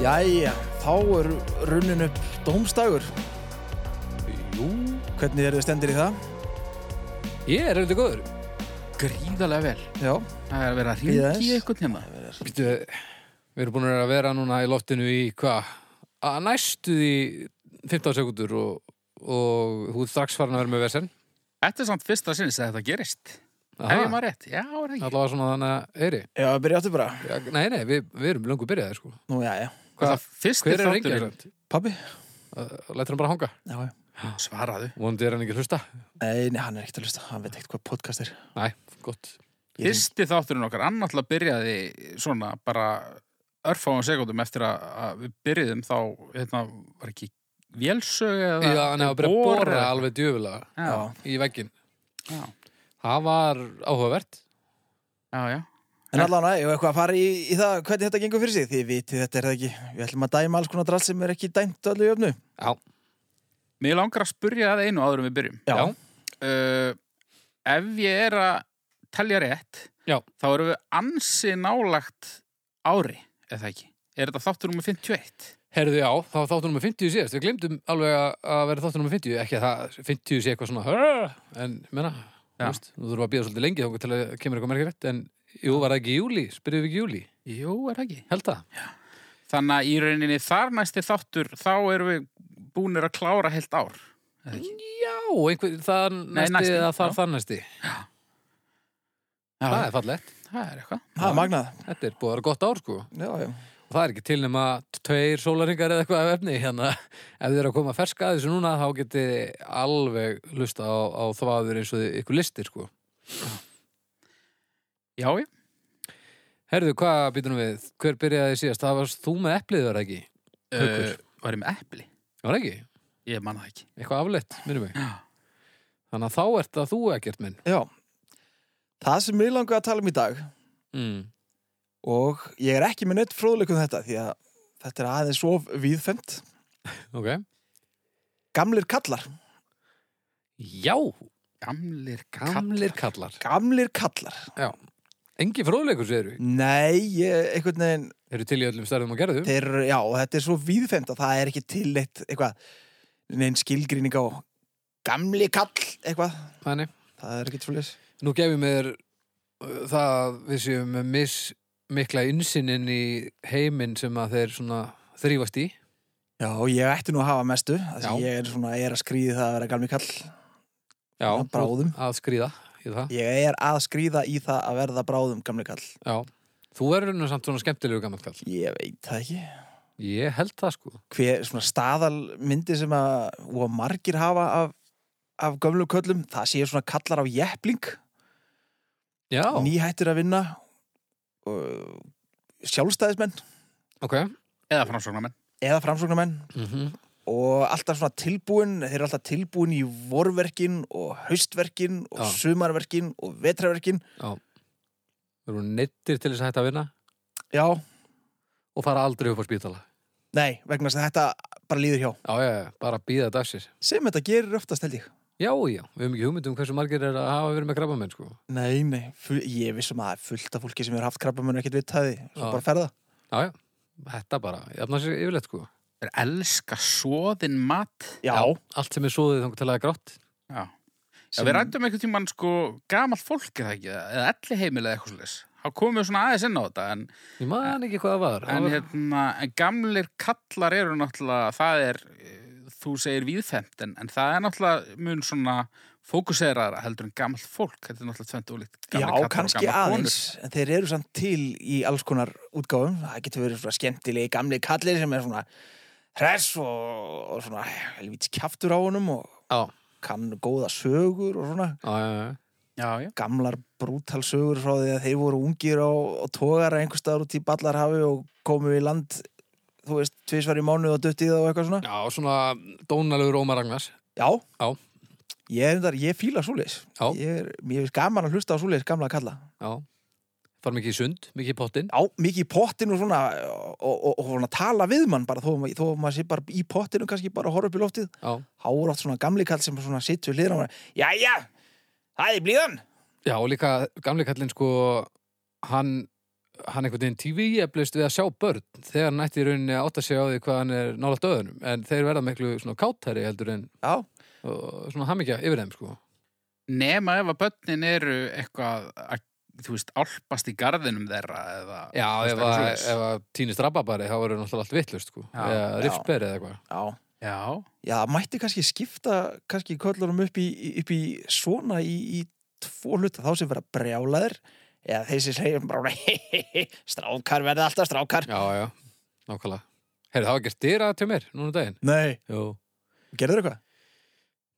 Jæja, þá er runnin upp dómstagur. Jú, Hvernig eru þið stendir í það? ég er auðvitað góður. Gríðarlega vel. Já, Það er að vera að Bíða hringi í aðeins. eitthvað tíma. Býtu, við erum búin að vera núna í loftinu í hvað? Að næstu því 15 sekundur og, og þú ert strax farin að vera með vesen. Þetta er samt fyrsta sinni sem þetta gerist. Aha. Ef ég maður rétt. Já, er það ekki. Alltaf var svona þannig að, Eiri, já, byrja áttu bara. ja, nei, nei, við, við erum löngu byrjaði, sko. Nú, jæja. Hvað það fyrsti Hver er reyngið þátturinn? þessant? Pabbi? Lætur hann bara hanga. Já, já. Svaraðu. Vondi er hann ekki að hlusta? Nei, nei, hann er ekkert að hlusta. Hann veit ekkert hvað podcast er. Nei, gott. Ég hring- Fyrsti þátturinn okkar annarlega byrjaði svona bara örfáum sekundum eftir að, að við byrjuðum þá, hérna, var ekki vélsög eða... Já, hann hefur bara að bor bóra eða- alveg djöfulega Já, í veggin. já, Það var áhugavert. já, já. En allan, ég hef eitthvað að fara í, í það hvernig þetta gengur fyrir sig. Þið vitið þetta er það ekki. Við ætlum að dæma alls konar drall sem er ekki dæmt öllu í öfnu. Já, Mér langar að spurja það einu áður en við byrjum. já, Uh, ef ég er að telja rétt, já. þá erum við ansi nálagt ári, eða ekki? Er þetta þáttur nummer 51? Herðu, já, þá var þáttur nummer 50 síðast. Við glemdum alveg að- að vera þáttur nummer 50. Ekki að það 50 sé eitthvað svona, "Hurr", en menna, þú Já. veist, þú þurfum að býða svolítið lengi þá til að kemur eitthvað merkilegt. En jú, var það ekki í júli? Spyrjum við ekki í júli? Jú, er það ekki? Held það? Þannig að í rauninni þar næsti þáttur, þá erum við búinir að klára heilt ár, eða ekki? Já, einhver, það er Nei, næsti næsti, eða þar já. þar næsti. Það er fallegt. það er eitthvað. Það er magnað. Þetta er búið að vera gott ár, sko. Já, já. Og það er ekki til nema tveir sólaringar eða eitthvað af efni. Hérna, ef þið eru að koma að ferska að þessu núna, þá getið þið alveg lusta á, á þvaður eins og þið- ykkur listir, sko. Já, já. Herðu, hvað býtum við? Hver byrjaði síðast? Það varst þú með eplið, var það ekki? Haukur. Uh, var ég með epli? Var það ekki? Ég manna það ekki. Eitthvað afleitt, minnum mig. Já. Þannig að þá ert það þú ekkert minn. Já. Það sem ég langar að tala um í dag Mm. og ég er ekki með neitt fróðleikum þetta því að þetta er aðeins of viðfemt. Ok. Gamlir kallar. Já, Gamlir kall. gamlir kallar. Gamlir kallar. Engi fróðleikur, segir við. Nei, ég, einhvern veginn, Eru til í öllum stærðum og gerðum. þeir, já, og þetta er svo víðfemt að það er ekki til eitt, eitthvað, neinn skilgríning á gamli kall, eitthvað, Þannig. það er ekki tvoleiðis. Nú gefum mér uh, það að við séum með mis, mikla insinnin í heiminn sem að þeir svona þrýfast í. Já, og ég ætti nú að hafa mestu, af því Já. ég er svona, er að skrýði það að vera gamli kall, Já. Að bráðum. Að skrýða í það. ég er að skrýða í það að verða bráðum gamli kall. Já. Þú verður nú samt svona skemmtilegu gammal kall. Ég veit það ekki. Ég held það, sko. Hver, svona staðalmyndi sem að, og margir hafa af, af gamlu köllum, það séu svona kallar á jeppling. Já. nýhættir að vinna og sjálfstæðismenn Ok. Eða framsóknarmenn. eða framsóknarmenn Mm og alltaf svona tilbúin, þeir eru alltaf tilbúin í vorverkin og haustverkin og Já. sumarverkin og vetraverkin Þeir eru neittir til þess að hætta að vinna já, og fara aldrei upp á spítala. nei, vegna þess að þetta bara líður hjá Já, já, já, bara býða þetta af sér. sem þetta gerir oftast held ég Já, já, við höfum ekki hugmynd um hversu margir er að hafa verið með krabba sko. nei, nei, full, ég vissum að það er fullt af fólki sem hefur haft krabbamenn og ekkert vitaði svo Já. bara ferða Já, já, þetta bara, ég afnar sér yfirleitt, sko. Þeir elska svoðin mat. já, Allt sem er svoðið þangur til að það er grátt. Já. sem, Við rændum einhvern tímann sko gamalt fólk, er það ekki? Eða elli eða eitthvað slis. Þá komum við svona aðeins inn á þetta, en Ég man ekki hvað það var. En hérna, en gamlir kallar eru náttúrulega, það er, eh, þú segir viðfemt, en, en það er náttúrulega mun svona fókuseraðara heldur en gamalt fólk, þetta er náttúrulega tvönd ólíkt. já, Gamlir kallar og kannski gamlar konur. aðeins en þeir eru samt til í alls konar útgáfum það getur verið svona skemmtilegi gamli kallir sem er svona hress og, og svona helvítis kjaftur á honum og Já, kann góða sögur og svona já, já, já. Já, já. gamlar brútal sögur frá því að þeir voru ungir og, og tógar einhver staðar út í ballarhafi og komu í land þú veist, tvisvar í mánuð og duttið og eitthvað svona Já, svona dónalegur Ómar Ragnars. Já, Já. Ég, er endar, ég fíla svoleiðis Já. Ég er, mér finnst gaman að hlusta á svoleiðis gamla kalla Já, far mikið í sund, mikið í pottinn. Já, mikið í pottinu svona og, og, og svona tala við mann bara þó, að- þó að maður sé bara í pottinu kannski bara að horfa upp í loftið Já, Háur átt svona gamli kall sem svona sittur hlýðra mann Jæja, það er blíðan já, og líka gamli kallinn, sko, hann hann einhvern veginn TV eflust við að sjá börn þegar hann ætti í rauninni að átta sig á því hvað hann er nála döðunum en þeir verða miklu svona kátari heldur en Já, og svona hamingja yfir þeim sko Nema ef að börnin eru eitthvað að, þú veist, álpast í garðinum þeirra eða... Já, þú ef veist, eitthvað að, svoleiðis. ef að týnist rababari þá verður náttúrulega allt vittlust sko Já. eða Já. rifsberi eða eitthvað já Já, Já, mætti kannski skipta kannski köllurum upp í, í- upp í svona í, í tvo hluta þá sem vera brjálaðir eða þeir sem segja bara strákar verða alltaf strákar Já, já, nákvæmlega Heyrðu, það var gert dyra til mér núna um daginn Nei, Jú gerður eitthvað?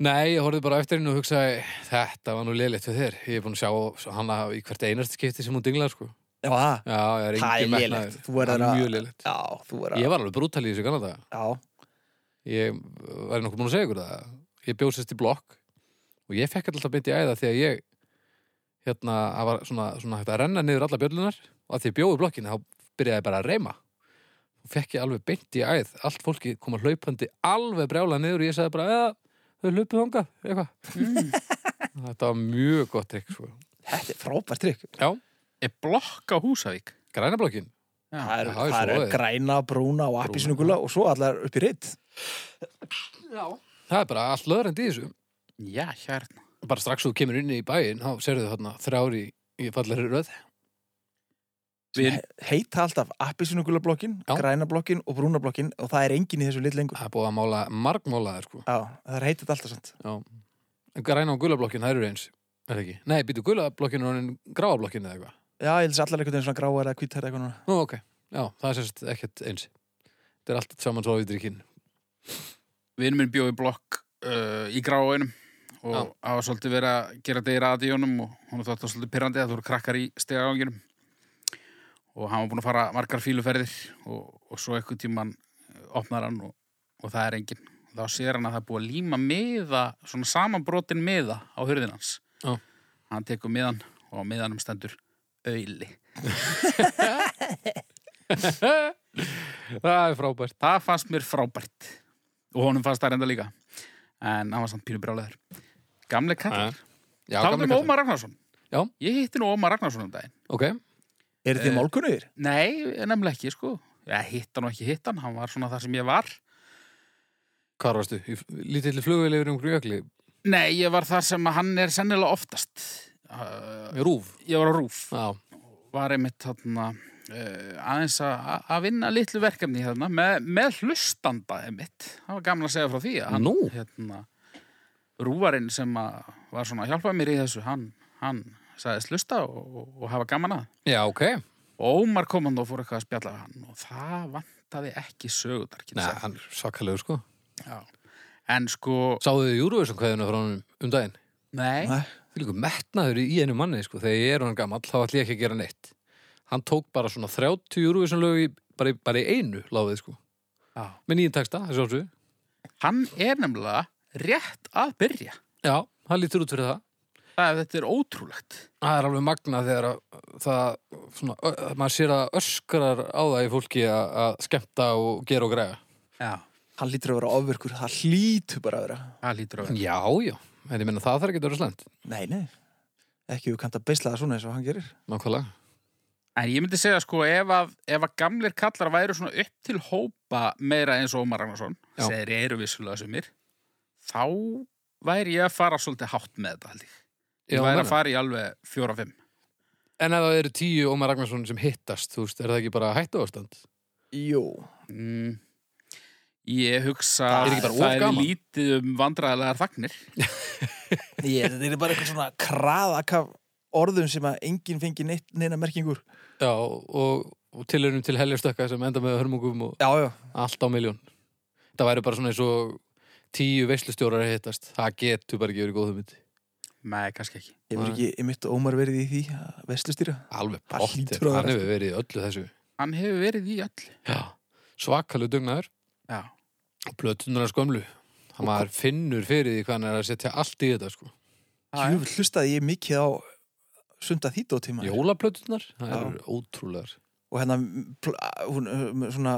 Nei, ég horfði bara á eftir henni og hugsaði þetta var nú liðleitt fyrir þér Ég er búin að sjá hana í hvert einast skipti sem hún dinglar sko Já, það Já, ég er Það er engin lélegt, þú verður Það er að- mjög liðleitt Já, þú verða Ég var alveg brútal í þessu kannan dag Já, Ég var nokkuð búin að segja ykkur það Ég bjósist í blokk og ég fekk alltaf beint í æða þegar ég hérna, það var svona, svona hægt að renna niður alla bjöllunar og að því ég bjóði blokkinu þá byrjaði ég bara að reyma og fekk ég alveg beint í æð allt fólki kom að hlaupandi alveg brjála niður og ég sagði bara, eða, þau hlupið þangað eitthvað, þetta var mjög gott trikk, sko. þetta er frábært trygg Já, er blokk á Húsavík. græna blokkin Það Já, það er eru er svoleiðis. græna, brúna og appisnugula og svo allar upp í reitt Já. það er bara allt löðrandi í þessu Já, hérna. bara strax þú kemur inn í bæinn þá serðu þarna þrjári í fallari röð Við, Heita alltaf appisnugula blokkin, Já. græna blokkin og brúna blokkin og það er engin í þessu lit lengur það er búið að mála margmálaðir sko. Já, það er heitit alltaf sant græna og gula blokkin, það eru eins er það ekki? Nei, býtu gula blokkin og gráa blokkin eða eitthvað Já, ég lýs allar einhvern veginn svona gráar eða hvítar eitthvað núna Nú, ok, já, það er sérst ekkert eins Þetta er allt saman svo í drikkin vinur minn bjóði blokk uh, í gráinum og Já. það var svolítið verið að gera degir að í honum og hún þátt að svolítið pyrrandi að þú eru krakkar í stegaganginum og hann var búin að fara margar fíluferðir og, og svo eitthvað tíman opnar hann og, og það er engin þá sér hann að það er búið að líma miða svona samanbrotin miða á hurðin hans Já. hann tekur miðan og á miðanum stendur auðli Það er frábært það fannst mér frábært og honum fannst það reynda líka en hann var samt pínu brjálæður gamle kallar Já, Talum gamli um kallar. Ómar Ragnarsson. Já. Ég hitti nú Ómar Ragnarsson um daginn. Ok, Er þið Eh, málkunnugir? Nei, nefnilega ekki, sko. Ég hitt hann og ekki hitt hann, hann var svona þar sem ég var. hvað varstu? Í f- Lítilli flugvél yfir um grjökli Nei, ég var þar sem hann er sennilega oftast. Uh, Rúf ég var á Rúf. Já, Var einmitt þarna uh, aðeins að að vinna litlu verkefni hérna með, með hlustanda einmitt. Það var gaman að segja frá því að hann, nú hérna, Rúvarinn sem að var svona að hjálpa mér í þessu, hann, hann sagðist hlusta og, og, og hafa gaman að. Já, ok og Ómar kom hann og fór eitthvað að spjalla við hann og það vantaði ekki sögudar Nei, hann er svakalegur sko en sko, Sáðu þið Júruvísum kveðinu frá hann um daginn nei, Nei. Því líka metnaður í einu manni sko Þegar ég er hann gamall, þá ætla ég ekki að gera neitt Hann tók bara svona 30 Júruvísum lög í, bara, í- bara í einu láfið sko Já. Með nýjum texta, þessu átsu hann er nefnilega rétt að byrja Já, hann lítur út fyrir það það þetta er ótrúlegt Það er alveg magna þegar að það, svona, ö- að maður sér að öskrar á það í fólki að, að skemmta og gera og græða. já, Hann lítur að vera ofvirkur, það hlýtur bara að vera það lítur að vera Já, já, en ég minna það þarf ekki að vera slæmt. Nei, nei, ekki við kannt að beisla það svona eins og hann gerir Nákvæmlega. en ég myndi segja sko, ef að, ef að gamlir kallar væru svona upp til hópa meira eins og Ómar Ragnarsson Já. sem þeir eru vissulega sumir þá væri ég að fara svolítið hátt með þetta held ég Já, ég væri meina. að fara í alveg fjóra-fimm En ef það eru tíu Ómar Ragnarsson sem hittast, þú veist, er það ekki bara hættu ástand? Jú, Mm, ég hugsa Það er ekki bara of það er gaman. lítið um vandræðilegar þagnir. ég, þetta er bara eitthvað svona kraðak af orðum sem að enginn fengi neitt, neina merkingur Já, og, og tilhörnum til heljarstökka sem enda með hörmungum og Já, já, allt á miljón. Það væri bara svona eins og tíu veislustjórar að hittast. Það getur bara ekki verið góð hugmynd. Nei, kannski ekki. ég vil ekki, ég mitt Ómar verið í því að veslustýra Alveg Það pottir. hlýtur að Hann vera. hefur verið í öllu þessu. Hann hefur verið í öllu. Já, svakalega dugnaður. Já. plötunar skömmlu hann maður finnur fyrir því hvað hann er að setja allt í þetta sko. Jú, hlustaði ég mikið á sunda þýtó tíma jólaplötunar, það Já. eru ótrúlegar og hérna pl- hún, uh, svona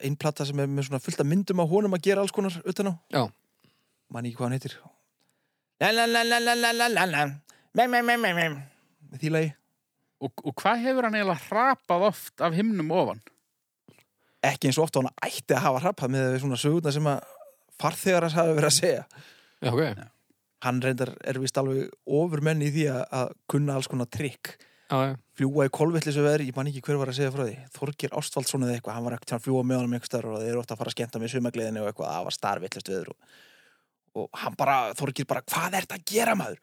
einn plata sem er með svona fullt af myndum á honum að gera alls konar utan á Já. man ekki hvað hann heitir la la la la la la la la la la mem mem mem mem mem með því lagi Og, og hvað hefur hann eiginlega hrapað oft af himnum ofan? Ekki eins og oft og hann ætti að hafa hrapað með við svona sögurna sem að farþegar hans hafi verið að segja. Já, ok. Hann reyndar er vist alveg ofurmenn í því að, að kunna alls konar trikk. Já, já. Fljúa í kolvillisu veðri, ég man ekki hver var að segja frá því. Þorgir Ástvaldsson eða eitthvað, hann var ekkert að fljúa með honum einhverstaðar og þeir eru ofta að fara að skemmta með sumagliðinni og eitthvað, það var starvillist veður og, og hann bara, Þorgir bara, hvað er þetta að gera maður?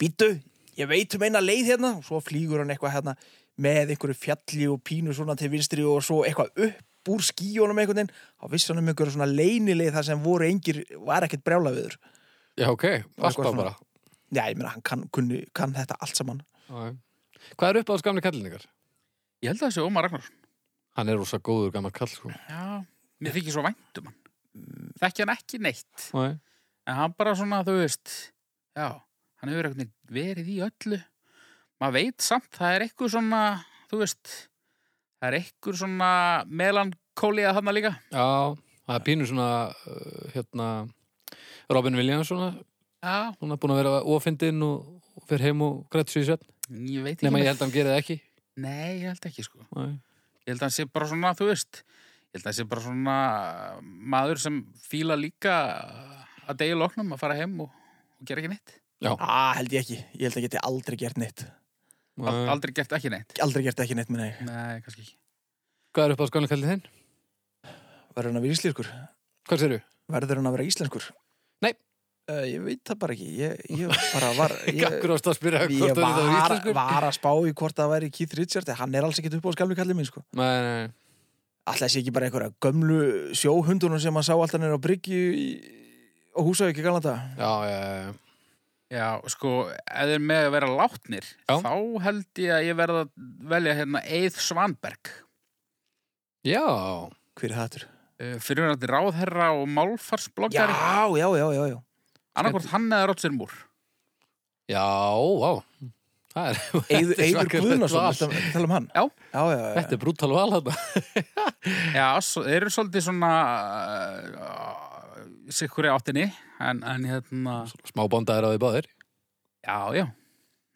Býtu, ég veit um eina leið hérna og svo flýgur hann eitthvað hérna með einhverju fjalli og pínu svona til vinstri og svo eitthvað upp úr skíjónum einhvern veginn, þá vissi hann um einhverju svona leynileið þar sem voru engir, var ekkert brjálaviður. Já, ok. eitthvað Alltaf svona. bara. Já, ég meina, hann kann, kunni, kann þetta allt saman. Já, já. Hvað er upp á þessu gamli kallin ykkar? Ég held að það sé Ómar Ragnarsson. Hann er rosa góður gammal kall, sko. Já. Mér þykir svo vænt um hann. Mm. Þekki hann ekki neitt. Já, já. En hann bara svona, þú veist, já, hann hefur eitthvað verið í öllu. Maður veit samt, það er eitthvað svona, þú veist, það er eitthvað svona melankóliða þarna líka. Já, það er pínu svona, uh, hérna, Robin Williams svona, Já, hún er búin að vera ofindinn og, og fyrir heim og grætt sér í svefn. ég veit ekki. Nefn með- ég held að hann gerði það ekki. Nei, ég held ekki, sko. Já, Ég held að hann sé bara svona, þú veist, ég held að hann sé bara svona maður sem fíla líka að degi loknum að fara heim og, og gera ekki neitt. Ah, held ég ekki. Ég held að geti aldrei gert neitt. Al, já. aldrei gert ekki neitt. Aldrei gert ekki neitt með nei. Nei, kannski ekki. Hvað er upp á þessu gamli kallin þinn? Verður hann að vera íslenskur? Hvað sér Verður hann að vera íslenskur? Nei. Uh, ég veit það bara ekki. Ég, ég bara var... Ég, Gakkur ást að spyrja ég hvort það er var, íslenskur. var að spá í hvort það væri Keith Richards. en Hann er alls ekkit upp á skalmi kallið minn, sko. Nei, nei, nei. Alltaf sé ekki bara einhverja gömlu sjóhundunum sem hann sá alltaf nýra á bryggju í... og húsavík í galanda. Já, já, já. Já, sko, ef þeir með að vera látnir, Já. þá held ég að ég verða að velja hérna Eið Svanberg. Já, Hver er það þurr? Uh, fyrir hann ráðherra og Já, málfarsblokkari. já, já, já, já. Annarkvort hann eða Roger Moore. já, vá. Það er, Eyður er Eyður svakalegt Guðnason, val. alltaf tala um hann. Já. Já, já, já. þetta er brútal val þarna. Já, svo, þeir eru svolítið svona uh, sikkur í áttinni, en, en hérna, Smá bondaðir á því báðir. já, já,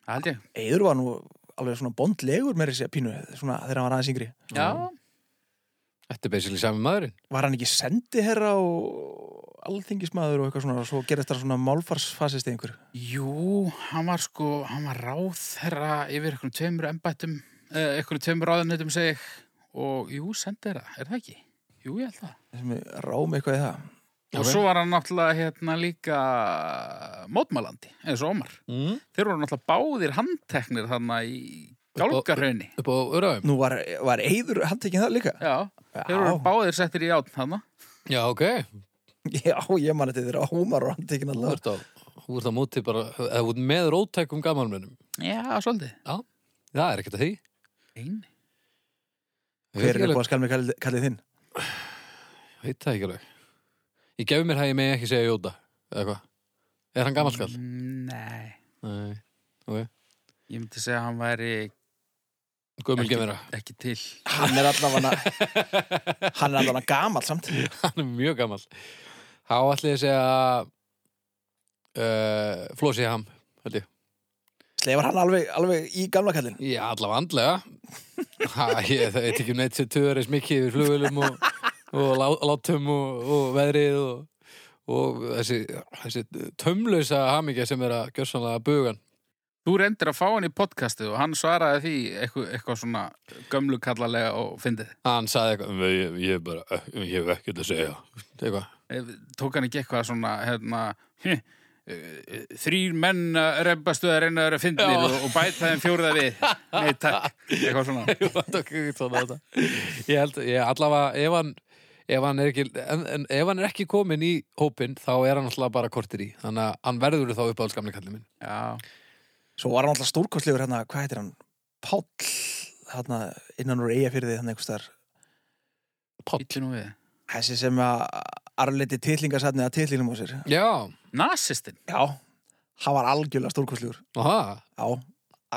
það held ég. Eður var nú alveg svona bondlegur með þessi pínu svona, þegar hann var aðeins yngri. Já, Þetta er basically sami maðurinn. Var hann ekki sendiherra og alþingismæður og eitthvað svona og svo gerist það svona málfarsfasist einhver. Jú, hann var sko, hann var ráðherra yfir einhvern tveimur embættum, eh, einhvern tveimur ráðuneytum segi ég og jú, sendi þeirra, er það ekki? Jú, ég held það. sem við rám eitthvað í það. Og Ok. svo var hann náttúrulega hérna líka mótmælandi, eins og Ómar. Mm. Þeir voru náttúrulega báðir handteknir þarna í gálgarhaunni. Upp á öraðum. Nú var, var Eður handtekinn það líka? Já, þeir Já. voru báðir settir í átn þarna. Já, ok. Já, ég man þetta þeirra Ómar og handtekinn Þú allavega. ert á, þú ert á móti bara, eða þú ert með róttækum gamalmennum. Já, svolítið. Það er ekkert að því. Einn. Ég veit Hver ekki er alveg- upp á skalmi kallið, kallið þinn? Veit það ekki alveg. Ég gefi mér það ég megi ekki segja Jóta. Eða hvað? Er hann Mm. gamalskall? Nei, Nei. ég myndi segja að hann væri Gömul Ekki- gemera. ekki til. Hann er allavega hann er allavega gamall samt. hann er mjög gammal. Há ætli ég að segja uh, Flósi Ham, held ég. Sleifar hann alveg, alveg í gamla kallin. Já, allavega andlega. ha, ég, það veit ekki um neitt sem töður eins mikið yfir flugulum og, og lá, látum og, og veðrið og, og þessi, þessi tömlausa hamingja sem er að gjörsanlega bugan. Þú reyndir að fá hann í podcastið og hann svaraði því eitthvað, eitthvað svona gömlu kallalega og fyndið. Hann sagði eitthvað, ég, ég bara, eh, ég hef ekkert að segja. Eitthvað. Eh, Tók hann ekki eitthvað svona, hérna, eh, eh, þrýr menn að rempastu að reyna að vera fyndnir Já. og, og bæta þeim fjórða við. Nei, takk. Eitthvað svona. Ég var tók ekkert svona á þetta. Ég held, ég allavega, ef hann, ef hann er ekki, en, en ef hann er ekki komin í hópin, þá er hann alltaf bara kortir í. Þannig að hann verður þá upp á alls gamli kallið minn. Já, Svo var hann alltaf stórkostlegur hérna, hvað heitir hann? Páll, hérna innan úr eiga fyrir því hann einhverstaðar. býttu nú við. Þessi sem að arleiti titlingarsatni að titlinum á sér. Já, Nasistinn. Já, hann var algjörlega stórkostlegur. aha, Já,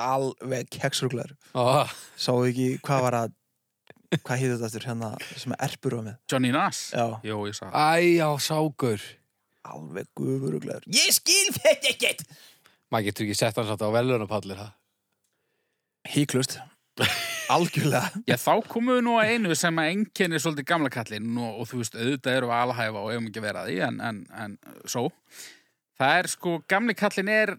alveg keksruglar. aha, Sáu ekki hvað var að, hvað hýttu þetta aftur hérna sem er erpur á með. Johnny Nas. Já, Jó, ég sá það. æ, já, sákur. alveg gufuruglar. Ég skil þetta ekkert! Maður getur ekki sett hann satt á velunarpallir, ha? híklust algjörlega Já, þá komum við nú að einu sem að enginni svolítið gamla kallinn og, og þú veist, auðvitað erum við að alhæfa og eigum ekki að vera að því, en, en, en svo. Það er sko, gamli kallinn er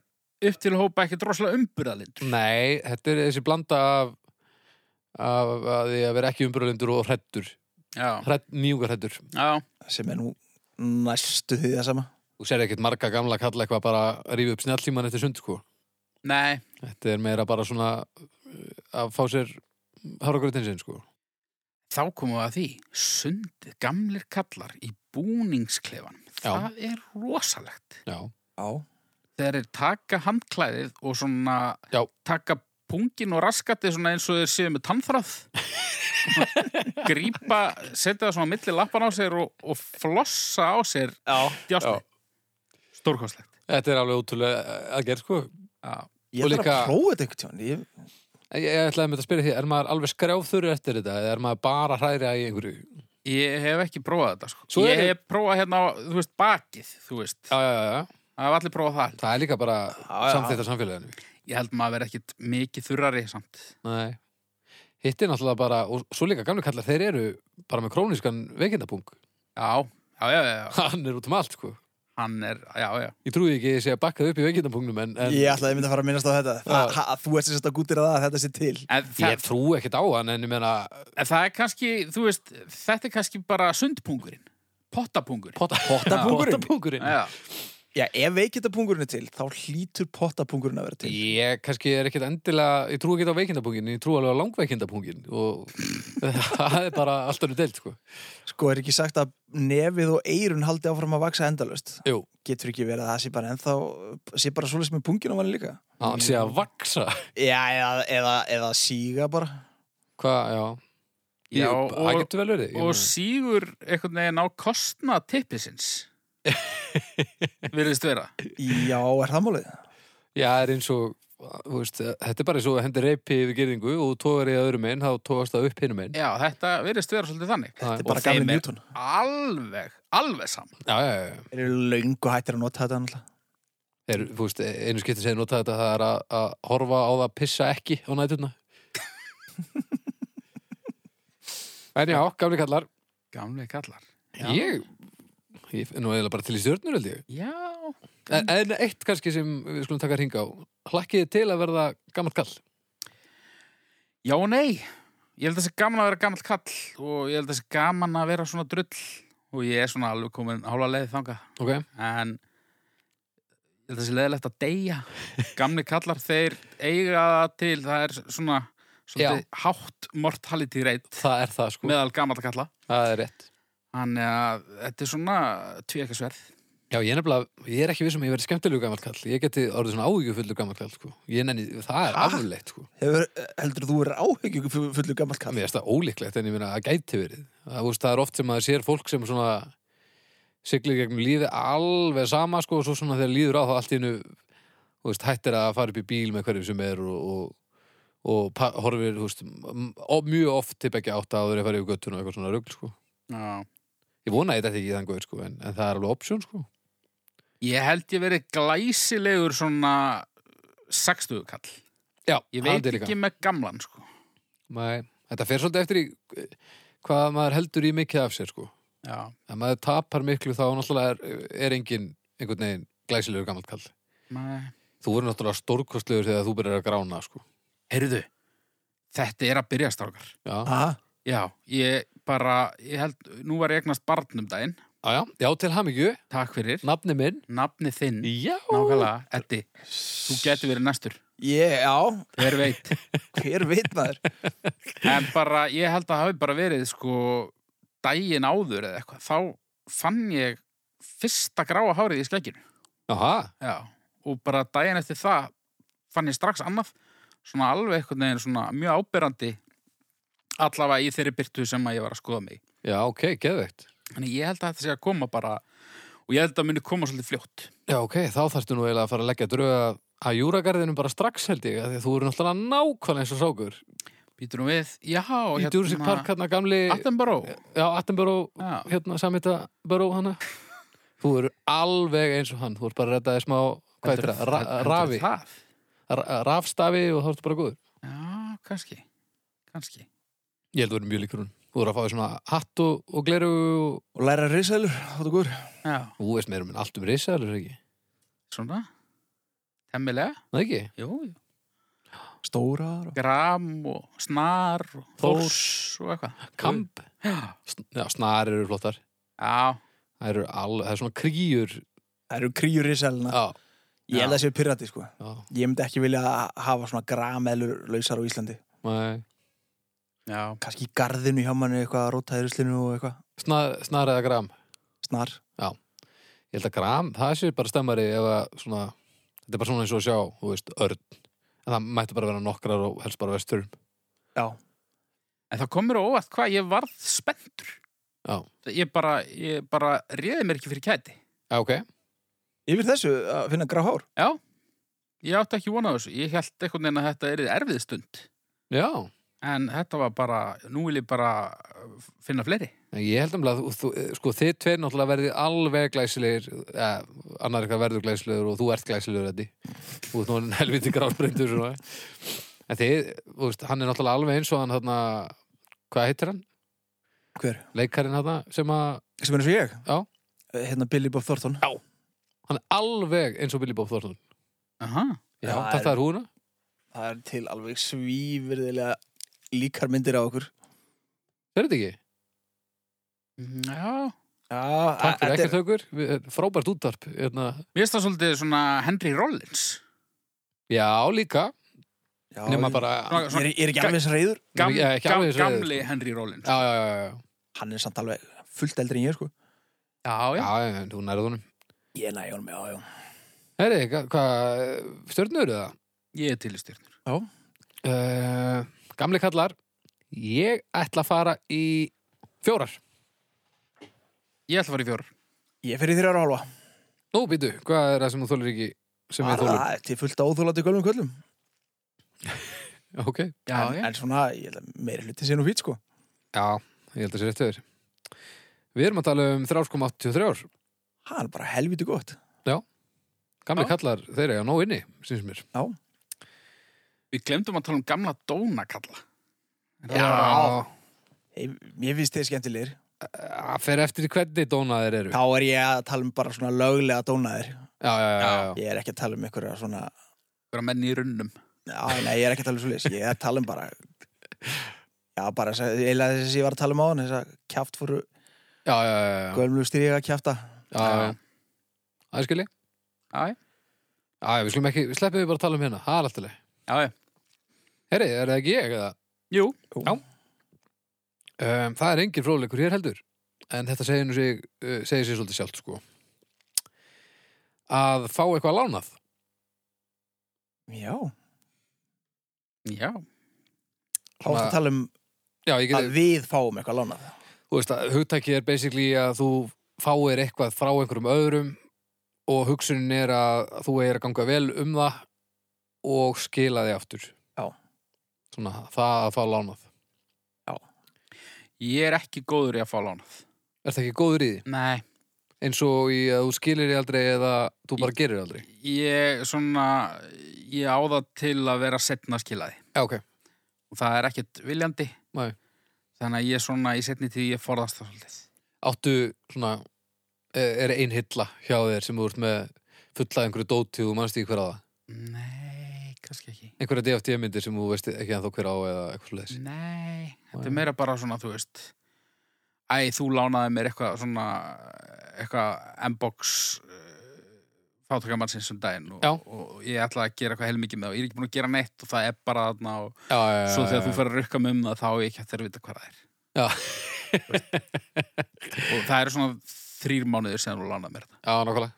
upp til hópa ekkert rosalega umburðalindur. Nei, þetta er þessi blanda af, af, af því að vera ekki umbröðlindur og hrættur, Já, hrætt, nýjungar hrættur. já, sem er nú næstu því það sama Þú sér ekkert marga gamla kalla eitthvað bara að rífa upp snjallíman eftir sund, sko. nei, Þetta er meira bara svona uh, að fá sér háragurinn sinn, sko. þá komum við að því. Sundið, gamlir kallar í búningsklefan. Já. Það er rosalegt. Já, Já, Þeir eru taka handklæðið og svona Já. taka pungin og raskatið svona eins og þeir séu með tannþráð grípa, setja það svona á milli lappan á sér og, og flossa á sér Já. djásni Stórkostlegt þetta er alveg ótrúlega að gera, sko. Já. ég Og þarf líka- að prófa þetta einhvern tjón ég, Ég, ég ætlaði með þetta að spyrja því, er maður alveg skrjáfþurri eftir þetta eða er maður bara hræðra í einhverju? Ég hef ekki prófað þetta sko. Svo Ég eru- hef prófað hérna, á, þú veist, bakið þú veist, Já, já, já, já. það hef allir prófað það Það er líka bara Já, já. samþýtt af samfélaginu. Ég held maður verið ekkit mikið þurrari samt Nei. Hitt er náttúrulega bara, og svo líka gamlu kallar, þeir eru bara með krónískan veikindabung. Já, já, já, já, já. Hann er út um allt, sko. hann er, já, já Ég trúi ekki að ég sé að bakkað upp í veikindapungnum, en, en ég ætlaði að myndi að fara að minnast á þetta Þa, ha, að Þú ert sem sagt að gútir að það að þetta sé til En það, ég trú ekkert á hann, en ég meina, en það er kannski, þú veist, þetta er kannski bara sundpungurinn, pottapungurinn potta, Pottapungurinn? pottapungurinn. Já, Já, ef veikindapungurinn er til, þá hlýtur pottapungurinn að vera til Ég kannski er ekkert endilega, ég trú ekkert á veikindapungin, ég trú alveg á langveikindapungin og það er bara allt önnur deilt, sko. Sko, er ekki sagt að nefið og eirun haldi áfram að vaksa endalust Jú, Getur ekki verið að það sé bara ennþá sé bara svoleiðis með pungin á manni líka hann sé að vaksa. Já, eða, eða, eða síga bara Hvað, já. Já, Ég- það og- getur vel verið. ég og meina. sígur einhvern veginn á kostna tippisins virðist vera Já, er það málið? Já, það er eins og, þú veist, þetta er bara eins og að hendi reypi yfir gerðingu og þú tógar í öðrum einn, þá tógast það upp hinum einn. já, þetta virðist vera svolítið þannig Þetta Þetta er Og bara þeim gamli er- Newton alveg, alveg saman Já, já, já. Þeir eru löngu hættir að nota þetta náttúrulega. Þeir, þú veist, einu skipti sem ég nota þetta, það er að, að horfa á það að pissa ekki á nætuna. en já, gamli kallar, gamlega kallar já, ég, ég er nú eiginlega bara til í stjörnur, held ég. já, En, en eitt kannski sem við skulum taka hringa á, hlakkið þið til að verða gammalt kall. já og nei ég held að það sé gaman að vera gammal kall og ég held að það sé gaman að vera svona drull og ég er svona alveg komin hálfa leið þanga Ok, en ég held að það sé leiðilegt að deyja gamli kallar, þeir eiga það til það er svona svolítið hátt mortality rate það er það sko, meðal gammal kalla það er rétt. Þannig að þetta er svona tvíekasverð. Já, ég er nefnilega, ég er ekki vissum að ég verði skemmtilegu gammal kall. Ég geti orðið svona áhyggjufullur gammal kall, sko. Ég nenni, það er Ha? afleitt, sko. Hefur, heldur þú verið áhyggjum fullu gammal kall? Mér er það ólíklegt, en ég meina að gæti verið. Það, þú veist, það er oft sem maður sér fólk sem svona siglir gegnum lífi alveg sama, sko, og svo svona þegar líður á þá allt í hennu, þú veist, hættir að fara upp í bíl með hverjum sem er og, og, og pa- horfir, þú veist, m- o- mjög oft til ekki átta áður að fara yfir göttun og eitthvað svona rugl, sko. Já. Ég vona þetta ekki í þann góður, sko, en, en það er alveg option, sko. Ég held ég verið glæsilegur svona 60 kall. Já, Ég haldið veit líka. ekki með gamlan, sko. Nei, þetta fer svolítið eftir í eh, hvað maður heldur í mikið af sér sko. Já. Ef maður tapar miklu þá náttúrulega er, er engin einhvern veginn glæsilegur gammalt kall. Nei. Þú verður náttúrulega stórkostlegur þegar þú byrjar að grána sko. Heyrðu, þetta er að byrja strákar. Já, Aha, Já, ég bara, ég held, nú var ég egnast barnum um daginn. Ah, já, já, já til hamingju, Takk fyrir. nafni minn. Nafni þinn, Já, nákvæmlega, Eddi, þú getur verið næstur. ég, já, Hver veit. hver veit maður? En bara, ég held að hafi bara verið sko daginn áður eða eitthvað. Þá fann ég fyrsta gráa hárið í skegginu. Aha, Já. Og bara daginn eftir það fann ég strax annað, svona alveg einhvern veginn svona mjög ábyrrandi allavega í þeirri byrtu sem að ég var að skoða mig. í. já, ok, geðveikt. Þannig ég held að þetta sé að koma bara og ég held að muni koma svolítið fljótt. Já, ok, þá þarftu nú eiginlega að fara að leggja dröga að júragarðinu bara strax held ég, af því að þú verður náttúrulega nákvæmlega eins og sákur. Býtur nú við, já, Í Jurassic Park, hérna Eh, gamli, Attenborough. já, Attenborough Já. hérna samita Baró hana þú eru alveg eins og hann þú ert bara að redda þér smá hvað heitir það, Ra- Heldur- heldur rafi það? Ra- rafstafi og þá ertu bara góður Já, kannski, kannski. Ég held að vera mjög líkur hún. Þú voru að fá þér svona hatt og, og gleru og... Og læra risaðlur, hátu góður. Já, Þú veist meira minn allt um risa, er það ekki? svona. Temmilega. Nei ekki? Jú, jú. Stórar og... Gram og snar og Þórs. þórs og eitthvað. Kamp? Já, Sn- Já, snar eru flottar. já, Það eru all... Það er svona kríur. Það eru kríur risaðluna. Já. Ég held að það séu pirrati, sko. Já. Ég myndi ekki vilja hafa svona grameðlur lausar á Íslandi. Nei. já. Kannski í garðinu hjá manni eitthvað, rótaði ruslinu og eitthvað. Snar, snar eða gram. Snar. Ég held að gram, það sé bara stemmari ef að svona... Þetta er bara svona eins og að sjá, þú veist, örn. En það mætti bara vera nokkrar og helst bara vesturum. Já. En það kom mér á óvart hvað ég varð spenntur. Já. Ég bara, ég bara réði mér ekki fyrir kæti. Já, ok. Yfir þessu að finna gráhár. Já, ég átti ekki vonað þessu. Ég held einhvern veginn að þetta er erfið stund. Já. En þetta var bara, nú vil ég bara uh, finna fleiri. En Ég held um að þú, þú, sko, þið tveir náttúrulega verðið alveg glæsilegir, eh, annar eitthvað verður glæsilegur og þú ert glæsilegur þetta. Þú ert nú helviti gráðbreyndur svona. En þið, þú veist, hann er náttúrulega alveg eins og hann þarna, hvað heitir hann? Hver? Leikarinn þarna sem að, Sem er eins og ég. Já. Eh, Hérna Billy Bob Thornton. hann er alveg eins og Billy Bob Thornton. Aha. Já, Já, þetta er- er húna. Það er til alveg svívirðilega líkar myndir á okkur. Það er þetta ekki? Já. Já, Takk fyrir þetta er- ekkert haukur. Við- eh, Frábært útvarp. Hérna. Mér finnst það svolítið svona Henry Rollins. Já, líka. Já, Nema ég- bara... Ég Svona- er, ég er ekki alveg eins reyður. Gam, Ég er ekki gam, alveg eins og- gamli Henry Rollins. Já, já, já, já. Hann er samt alveg fullt eldri en ég, sko. Já, Já, já. já, já, þú nærið honum. Ég næ honum, já, já. Herri, hvað, hvað, stjörnur eru það? Ég er til í styrnur. Uh, gamli kallar Ég ætla að fara í fjórar Ég ætla að fara í fjórar. Ég fer í þrjára hálfa. Nú, býtu, hvað er það sem þú þolir ekki sem við Það þolum? er til fullt áþólandi gölvum kvöldum. Ok, Já, en, já. en svona, ég held að meiri hlutin sé nú fýt, sko. já, ég held að sé rétt fyrir Við erum að tala um 3,83 ár Það er bara helviti gott. Gamli Já. kallar, þeir eru að nóg inni, syns mér Við glemdum að tala um gamla dónakalla. Ég, ég finnst þið skemmtilegir. Það Eh, fer eftir því hvernig dónaðir eru Þá er ég að tala um bara svona löglega dónaðir. Já, já, já, já, Ég er ekki að tala um einhverja svona... Hverja menni í runnum. Já, nei, ég er ekki að tala um svoleiðis. Ég er að tala um bara... Já, bara þess að, eiginlega þess að ég var að tala um á hann, þess að kjáft fóru já, já, já, já. gölmlu styrja að kjáfta. já, já. Það er skilji Já, já. Já, já, við skulum ekki, við sleppum við bara að tala um hérna Það er alltaf leið Já, já. Herri, er það ekki ég eða? Jú. Já. Um, það er engin fróðleikur hér heldur en þetta segir, nú sig, uh, segir sig svolítið sjálft sko að fá eitthvað lánað Já, Já. þá ertu að tala um já, að ég geti, við fáum eitthvað lánað. þú veist að hugtækið er basically að þú fáir eitthvað frá einhverjum öðrum og hugsunin er að þú er að ganga vel um það og skila þig aftur Já. svona það að fá lánað Ég er ekki góður í að fá lánað. er það ekki góður í því? Nei. eins og í að þú skilir því aldrei eða þú bara gerir því aldrei Ég svona, ég á það til að vera setna skilaði. já, ok, Og það er ekkert viljandi. Nei. Þannig að ég svona í setni tíð ég forðast það svolítið. áttu svona eh, er ein hilla hjá þér sem þú ert með fulla einhverju dóti og þú manst ekki hver á það Nei, kannski ekki. einhverja DFT myndir sem þú veist ekki ennþá hver á eða Mm. eitthvað slags Nei, þetta Nei. er meira bara svona, þú veist. Æ, þú lánaði mér eitthvað svona, eitthvað M-box fátakamannsins um daginn og, Já. og ég ætlaði að gera eitthvað heilmikið með það og ég er ekki búin að gera neitt og það er bara þarna og já, já, já, svo þegar já, þú fer að rukka mig um það þá er ég ekki hægt að vita hvað það er Eh. Já. og það eru svona þrýr mánuðir sem þú lánað mér þetta já, nákvæmlega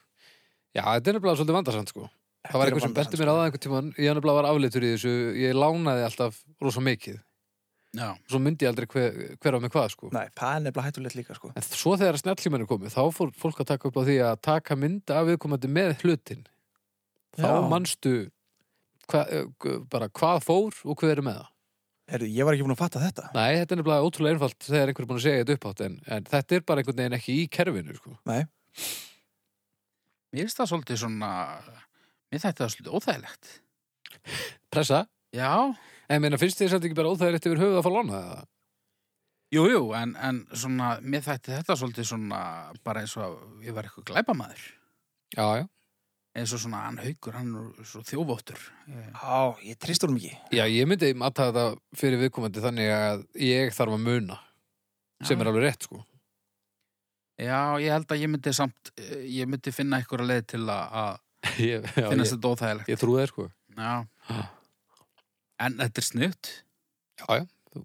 já, þetta er nefnilega svolítið vandarsamt sko það var Þetta er eitthvað sem vandasamt, benti mér á sko. það einhvern tímann ég er nefnilega var afleitur í þessu ég lánaði alltaf rosa mikið Já, svo myndi ég aldrei hver, hver á mig hvað sko Nei, það er nefnilega hættulegt líka, sko. en svo þegar snjallímennu komið þá fór fólk að taka upp á því að taka mynd af viðkomandi með hlutin þá Já. manstu hva, e, bara hvað fór og hver er með það Herru, ég var ekki búin að fatta þetta. Nei, þetta er nefnilega ótrúlega einfalt þegar einhver er búin að segja þetta upphátt en, en þetta er bara einhvern veginn ekki í kerfinu sko. mér finnst það svolítið svona mér þetta er svolítið óþægilegt Pressa? Já, En ég meina, finnst þið samt ekki bara óþægilegt yfir höfuð að fá lána það? Jú, jú, en, en svona, mér þætti þetta svolítið svona, bara eins og að ég var eitthvað glæpamaður. Já, já. Eins og svona, hann haukur, hann er svo þjófóttur. Ég- Á, ég tristur um ekki. Já, ég myndi matta þetta fyrir viðkomandi þannig að ég þarf að muna, sem er alveg rétt, sko. Já, ég held að ég myndi samt, eh, ég myndi finna einhverja leið til að að Ég, já, finnast ég, þetta óþægilegt. ég trúi það, sko. Já. Ha. En þetta er snutt. Já, já. Þú,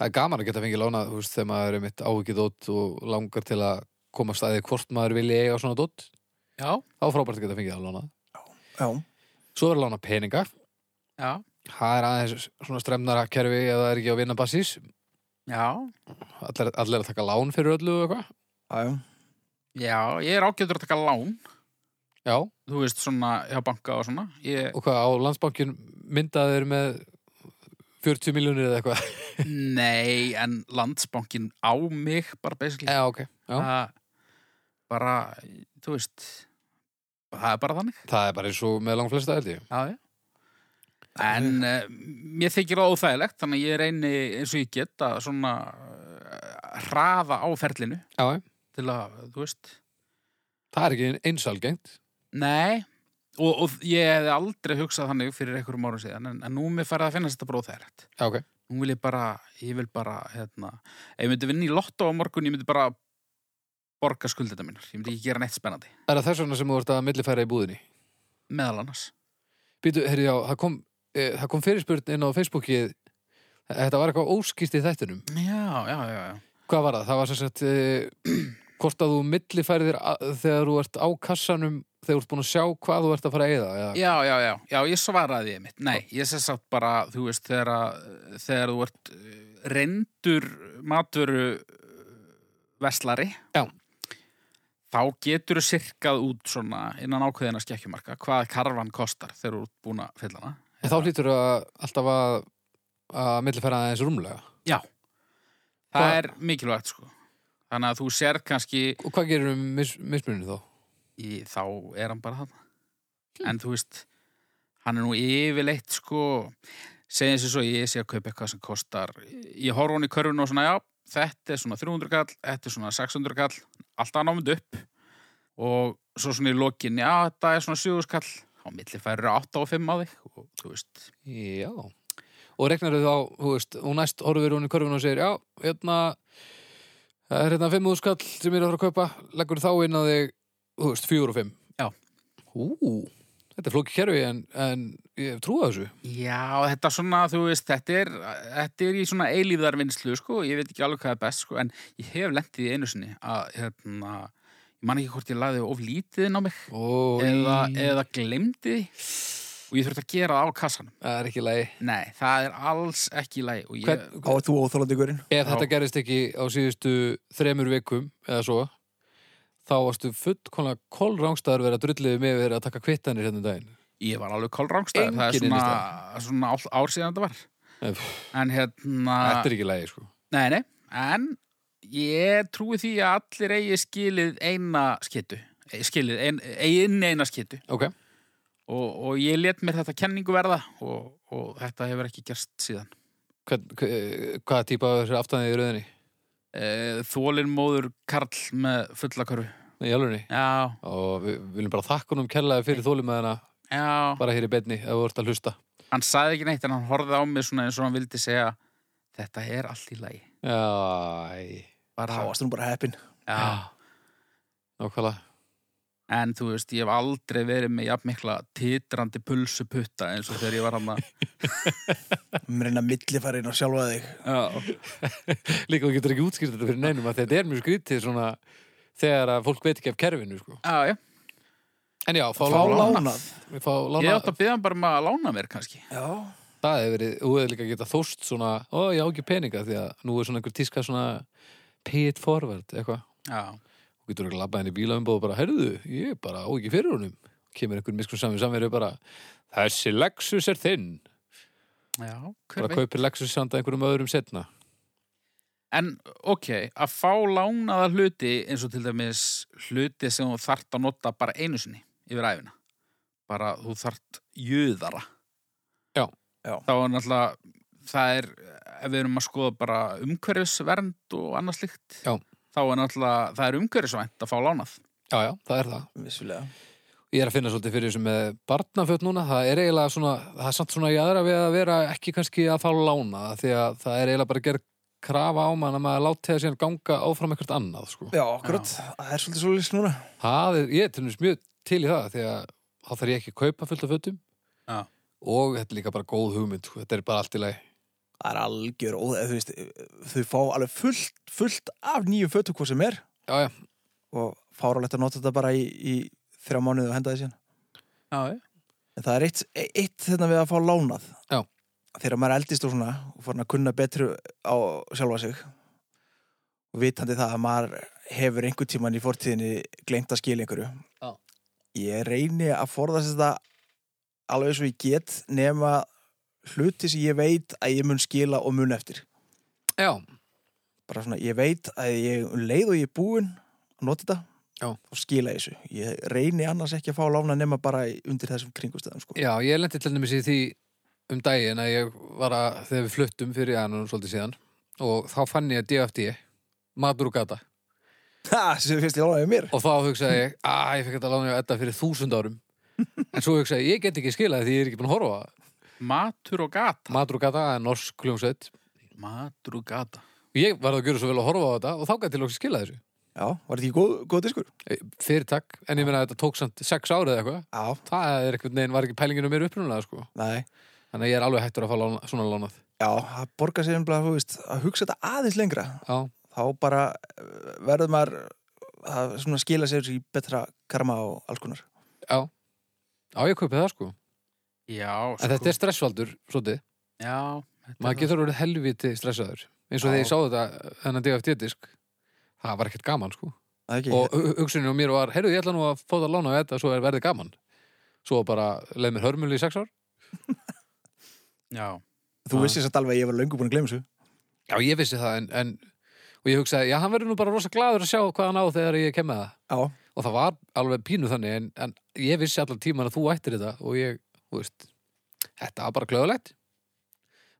það er gaman að geta fengið lánað, þú veist, þegar maður er mitt áhugið dótt og langar til að koma staðið hvort maður vilja eiga svona dótt. Já. Þá er frábært að geta fengið það lánað. Já. Svo er að lána peninga. Já. Það er aðeins svona stremnara kerfi ef það er ekki á vinnabassís. Já. Allir, allir að taka lán fyrir öllu og eitthvað. Já, já. Já, ég er ágætur að taka lán, Já, þú veist, svona, hjá banka og svona. Ég, og hvað á landsbankin myndaður með 40 miljónir eða eitthvað. nei, en landsbankin á mig, bara basically. Já, ok. Já. Það- bara, þú veist, það er bara þannig. Það er bara eins og með langflesta held ég. Já, já. En uh, mér þykir það óþægilegt, þannig að ég reyni eins og ég get að svona uh, hraða á ferlinu Já, já. til að, þú veist, það er ekki eins algengt. nei. Og, og ég hefði aldrei hugsað þannig fyrir einhverjum árum síðan, en, en nú er mér farið að finnast þetta bara óþægilegt. Já, ok. Nú vil ég bara, ég vil bara, hérna, ef ég myndi vinna í lottó á morgun, ég myndi bara borga skuldina mínar. Ég myndi ekki gera neitt spennandi, Er það þess vegna sem þú ert að millifæra í búðinni? meðal annars. Býtu, heyrðu, já, það kom, e, það kom fyrirspurn inn á Facebookið Þetta var eitthvað óskýrt í þættinum Já, já, já, já. Hvað var það? Það var sem sagt e, hvort að þú millifærið þér að- þegar þú ert á kassanum þegar þú ert búin að sjá hvað þú ert að fara að eyða eða, Já, já, já, já, ég svaraði ég mitt. Nei, ég sé satt bara, þú veist, þegar, að- þegar þú ert eh, reyndur matvöru veslari, Já. þá getur þú sirkað út svona innan ákveðina skekkjumarka hvað karfan kostar þegar þú ert búin að fylla hana. En þá hlýtur að alltaf að, að millifæra það eins rúmlega Það Hvað- er mikilvægt, sko. Þannig að þú sér kannski, Og hvað gerir um mis, mismuninu þá? í, þá er hann bara þarna. En þú veist, hann er nú yfirleitt sko, segjum sér svo ég sé að kaupa eitthvað sem kostar, ég horf hann í körfinu og svona, já, þetta er svona 300 kall, þetta er svona 600 kall, alltaf námið upp og svo svona í lokin, já, þetta er svona 7 kall, á milli færur 8 og 5 á þig og þú veist, Já Og regnar þú þá, þú veist, og næst horfir hún í körfun og segir Já, hérna Það er hérna 5 skall sem ég er að fara að kaupa Leggur þá inn á þig, þú veist, 4 og 5 Já. Ú, þetta er flóki kerfi en, en ég trúa þessu Já, þetta svona, þú veist, þetta er, þetta er í svona eilíðarvinnslu, sko, ég veit ekki alveg hvað er best, sko, en ég hef lentið í einu sinni að, hérna, ég man ekki hvort ég lagði of lítið inn á mig Ó, eða, í- eða glemdi því og ég þurfti að gera það á kassanum. Það er ekki lægi Nei, það er alls ekki læg og ég, Hvern- Á, þú óþólandi gurinn. Ef Já. þetta gerist ekki á síðustu þremur vikum eða svo þá varstu fullkomlega kolrángstæður verið að drulliðu með verið að taka kvittanir hérna um daginn. ég var alveg kólrángstæður, það er Engin svona, svona ál- ár síðan þetta var. Nei, pff, En hérna, Þetta er ekki lægi, sko. nei, nei, en ég trúi því að allir eigi skilið eina skytu, skilið, ein, eigin eina skytu. Ok. og, og ég let mér þetta kenningu verða og, og þetta hefur ekki gerst síðan. Hvern, hver, hvaða típa af þessu aftanið í rauðinni? E, Þólin móður Karl með fullakörfu. Í alvegni? Já, Og við viljum bara þakka honum kærlega fyrir þólimaðina já. bara hér í beinni ef þú ert að hlusta. Hann saði ekki neitt en hann horfði á mig svona eins og hann vildi segja þetta er allt í lagi. Já, Þá Bara, varst nú bara heppin. já. nákvæmlega. En þú veist, ég hef aldrei verið með jafn mikla titrandi pulsu putta eins og þegar ég var hann að... Mér reyna að millifæra inn og sjálfa þig. Já. Líka þú getur ekki útskýrt þetta fyrir neinum að þetta er mjög skrítið svona þegar að fólk veit ekki af kerfinu, sko. Já, já. En já, fá Fá lána. lánað. Fá Ég lána. átt að byggja hann bara um að lána mér kannski. Já. Það hefur verið, þú hefur líka getað þóst svona, ó, ég á ekki peninga því að nú er svona einhver tíska svona pay it forward, eitthvað. Já. Þú getur ekki labbað henni í bílaumbóð og bara, herðu, ég bara á ekki fyrir honum. Kemur einhver miskun saman samverju bara, þessi Lexus er þinn. Já, hver Bara veit. kaupir Lexus samt að einhverjum öðrum setna. En ok, að fá lánaða hluti eins og til dæmis hluti sem þú þart að nota bara einu sinni yfir æfina. Bara þú þart jöðara. Já. Já. þá er náttúrulega það er, ef við erum að skoða bara umhverfisvernd og annað slíkt Já. þá er náttúrulega, það er umhverfisvænt að fá lánað já, já, það er það vissulega Ég er að finna svolítið fyrir þessu með barnaföt núna, það er eiginlega svona, það er samt svona í aðra við að vera ekki kannski að fá lána, því að það er eiginlega bara að gera krafa á mann að maður láti það síðan ganga áfram eitthvað annað, sko. Já, akkurat, það er svolítið svolítið núna Það er, ég er til dæmis mjög til í það, því að þá þarf ég ekki að kaupa fullt af fötum Já. og þetta er líka bara góð hugmynd, sko, þetta er bara allt í lagi. Það er algjör óðið, þú veist þau fá alveg fullt, fullt af nýju fötu hvað sem er Já, já, og fáralegt að nota þetta bara í, í þrjá mánuði og henda þessi Já, en það er eitt, eitt þetta við að fá lánað Já. þegar maður eldist og svona og farin að kunna betru á sjálfa sig og vitandi það að maður hefur einhvern tíman í fortíðinni gleymt að skilja einhverju Já. ég reyni að forðast þetta alveg svo ég get nema hluti sem ég veit að ég mun skila og mun eftir já, bara svona, ég veit að ég um leið og ég er búinn að nota þetta Já. þá skila ég þessu ég reyni annars ekki að fá lána nema bara í- undir þessum kringustöðum sko. já, ég lendi til dæmis í því um daginn að ég var að, þegar við fluttum fyrir aðan svolítið síðan og þá fann ég DFD, matur og gata. Ha, sem finnst ég lánaði mér og þá hugsaði ég, að ég fekk þetta lána hjá Edda fyrir þúsund árum en svo hugsaði ég, ég get ekki skilað því ég er ekki búin að horfa á það. matur og gata Madrugada, það er norsk hljómsveit matur og gata og ég varð að gjöra svo vel að horfa á þetta og þá gæti ég lóks skilað þessu Já, var þetta ekki góð, góð diskur? Eh, fyrir takk, en ég meina að þetta tók samt sex árið eða eitthvað, Já, það er eitthvað neginn var ekki pælinginu mér upprunalega sko nei þannig að ég er alveg hættur að fá lána, svona lánað Já, það borgar sér einhverja, þú veist, að hugsa þetta aðeins lengra já, þá bara eh, verður maður að svona skila sér í betra karma og alls konar já, já ég kaupi það sko Já, sko. en þetta er stressvaldur, svolítið Já, þetta maður er getur orðið helviti stressaður eins og Já. þegar ég sá þetta, þennan DFT-disk það var ekkert gaman sko Það er ekki, og hu- hugsunin á mér var, heyrðu ég ætla nú að fá það að lána við þetta, svo er verðið gaman svo bara leið mér hörmul í sex ár það. Já, þú vissir satt alveg að ég var löngu búin að gleyma þessu já, ég vissi það, en, en og ég hugsaði, já, hann verður nú bara rosa gladur að sjá hvað hann á þegar ég kem með það Já, og það var alveg pínu þannig, en, en ég vissi allan tíman að þú ættir þetta og ég, þú veist þetta var bara glöðulegt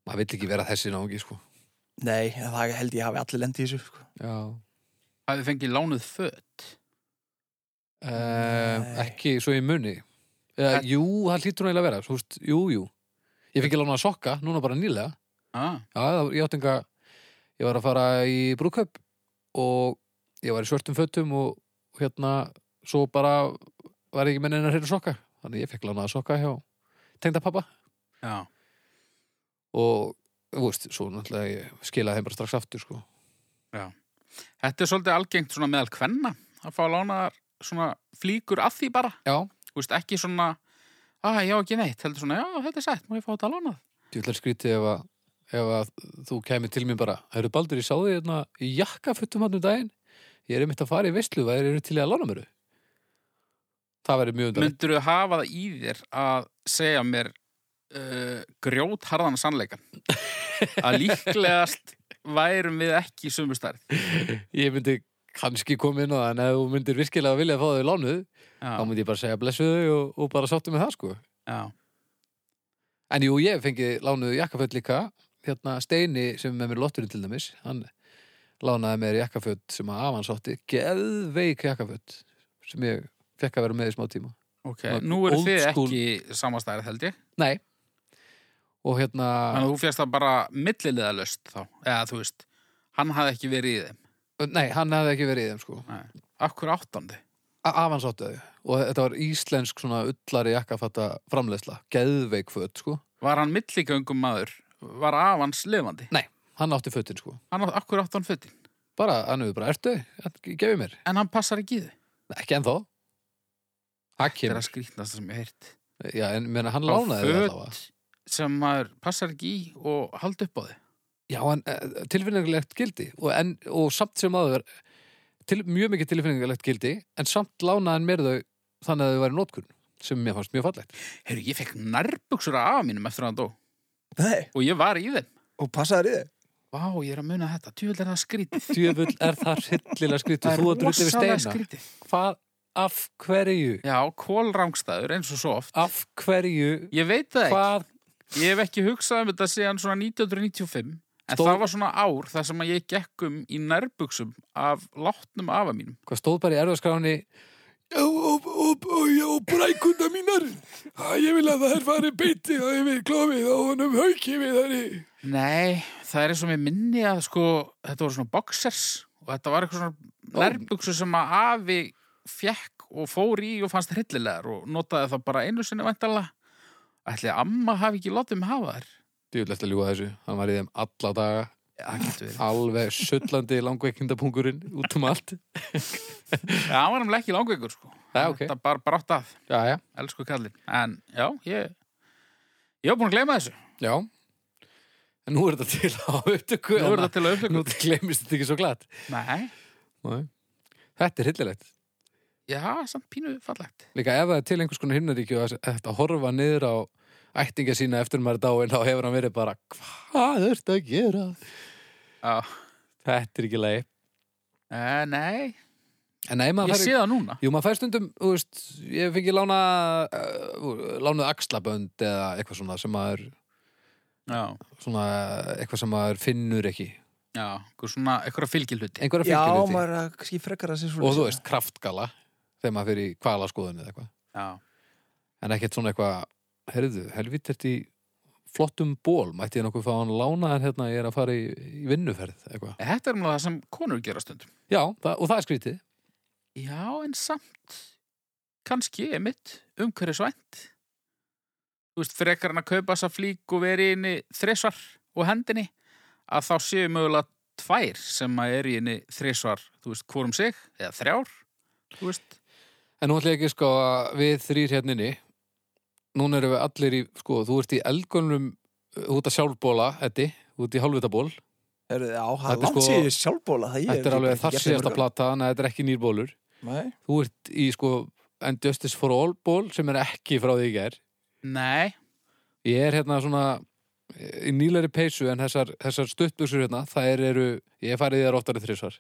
maður vill ekki vera þessi náungi, sko nei, en það held ég hafi allir lendi í þessu sko. já, hafið fengið lánuð föt um, Nei. ekki svo í munni Eða, En- jú, það hlýtur hún eiginlega að vera, svo, þú veist, jú, jú ég fikk ég lána að sokka, núna bara nýlega ah, Já, það- ég átti enga ég var að fara í brúköp og ég var í svörtum fötum og og hérna, svo bara var ég ekki með neina hreinu sokka þannig ég fekk lánaða sokka hjá tengda pappa Já, og, þú veist, svo náttúrulega ég skilaði þeim bara strax aftur, sko þetta er svolítið algengt svona meðal kvenna að fá lánaðar svona flíkur að því bara Já, Þú veist, ekki svona að já, ekki neitt, heldur svona, já, þetta er sætt, má ég fá þetta lánað þú ætlar skrítið ef að ef að þú kemur til mér bara Hörru Baldur, ég sá því hérna í jakkafötum hann um daginn ég er einmitt að fara í veistlu hvað eru til í að lána mér þau?" Það verður mjög undan Myndirðu hafa það í þér að segja mér uh, grjótharðan sannleikan að líklegast værum við ekki í sömu stærð Ég myndi kannski koma inn á það en ef þú myndir virkilega vilja að fá þau lánuð þá Já, myndi ég bara segja blessuðu þau og, og bara sáttu með það sko já, en jú, ég hef fengið lánuð jakkaföld líka hérna Steini sem er með mér í lotturinn til dæmis hann lánaði mér jakkaföld sem að afan sátti geðveik jakkaföld sem ég fekk að vera með í smá tíma ok Svona Nú eru old þið school- ekki sama stærð, held ég nei og hérna Þannig að þú fjast það bara millilega löst þá eða þú veist, hann hafði ekki verið í þeim nei, hann hefði ekki verið í þeim sko Akkur áttandi afan sáttu þau og þetta var íslensk svona ullari jakkafatta framleiðsla geðveik föld sko Var hann milligöngum maður? Var af hans lifandi? hann átti fötin sko Hann átt akkur átt hann fötin bara, hann hefur bara, ertu, gefið mér En hann passar ekki í þau Nei, ekki ennþá það Þetta er kemur að skrýtnast sem ég heirt Já, en menna, hann Á lánaði það föt. allavega Sem maður passar ekki í og haldi upp á þau Já, en eh, tilfinningalegt gildi og, en, og samt sem aður til, mjög mikið tilfinningalegt gildi en samt lánaði hann mér þau þannig að þau væri nótkunn sem mér fannst mjög fallegt Heyrðu, ég fekk nærbuksur af afa mínum eftir að hann dó Nei, Og ég var í þeim og passaður í þið Vá, ég er að muna þetta, tjúvel er það skrítið Djöfull er það hryllilega skrítið þú að drutti við rosalega steina skrítið Hvað, af hverju Já, kólrangstæður eins og svo oft af hverju, Ég veit það ekki hvað Ég hef ekki hugsað um þetta síðan svona 1995 En Stór- það var svona ár þar sem að ég gekk um í nærbuxum af látnum afa mínum. Hvað stóð bara í erfaskráni Já, og, og, og, já, og brækunda mínar Æ, Ég vil að það er farið beiti og ég vil klófið og honum hauki við henni Nei, það er eins og mér minni að sko, þetta voru svona boxers og þetta var Ó. eitthvað svona nærbuksu sem að afi fjekk og fór í og fannst hryllilegar og notaði það bara einu sinni væntalega. Ætli að amma hafi ekki látið mig hafa þær. Djúðlegt að ljúga þessu, hann var í þeim alla daga Já, það getur verið. alveg sullandi langveikindapungurinn út um allt Já, hann var nefnilega ekki langveikur sko. Já, ok, Þetta bara brátt að, já, já, elsku kallinn. En já, ég, ég var búin að gleyma þessu. já En nú er þetta til á upptöku Nú er það til að Nú upptöku. gleymist þetta ekki svo glatt Nei, Nei. Þetta er hryllilegt já, samt pínu fallegt. Líka ef það er til einhvers konar himnaríki og það er hægt að horfa niður á ættinga sína eftir maður er dáin þá hefur hann verið bara hvað ertu að gera? Já, Þetta er ekki leið. Eh, nei, En nei, ég maður sé fær, það núna. jú, maður fær stundum, þú veist, ég fengi lána, uh, lánuð axlabönd eða eitthvað svona sem maður, Já, svona, eitthvað sem maður finnur ekki. já, eitthvað svona, eitthvað fylgilhuti. Einhverja Já, fylgir maður er að kannski frekar að sér svona Og þú veist, kraftgala þegar maður fyrir kvalaskoðun eða eitthvað. Já. En ekkert svona eitthvað, herðu, helvít ert í flottum ból, mætti ég nokkuð fá hann lánaðan hérna, ég er að fara í, í vinnuferð eitthvað. Þetta er mjög það sem konur gera stundum. Já, það, og það er skrítið. Já, en samt, kannski, emitt, umhverfisvænt. Þú veist, frekar hann að kaupa þessa flík og veri inni þrisvar og hendinni, að þá séu mögulega tvær sem að er í inni þrisvar, þú veist, hvorum sig, eða þrjár, þú veist. En nú ætla ég ekki sko að við þrýr hérninni Núna erum við allir í, sko, þú ert í eldgönnum Þú ert að sjálfbóla, Eddi Þú ert í hálfvitaból Herðu, Já, það er Þetta er langt sko- síðan sjálfbóla það ég Þetta er hef alveg ekki þar gert það síðasta mörg ár. plata, þannig að þetta er ekki nýrbólur Nei, Þú ert í, sko, And Justice for All ból sem er ekki frá því í gær Nei, Ég er hérna svona eh, í nýlari peysu en þessar, þessar stuttbuxur hérna, þær eru ég hef farið í þær oftari þrísvar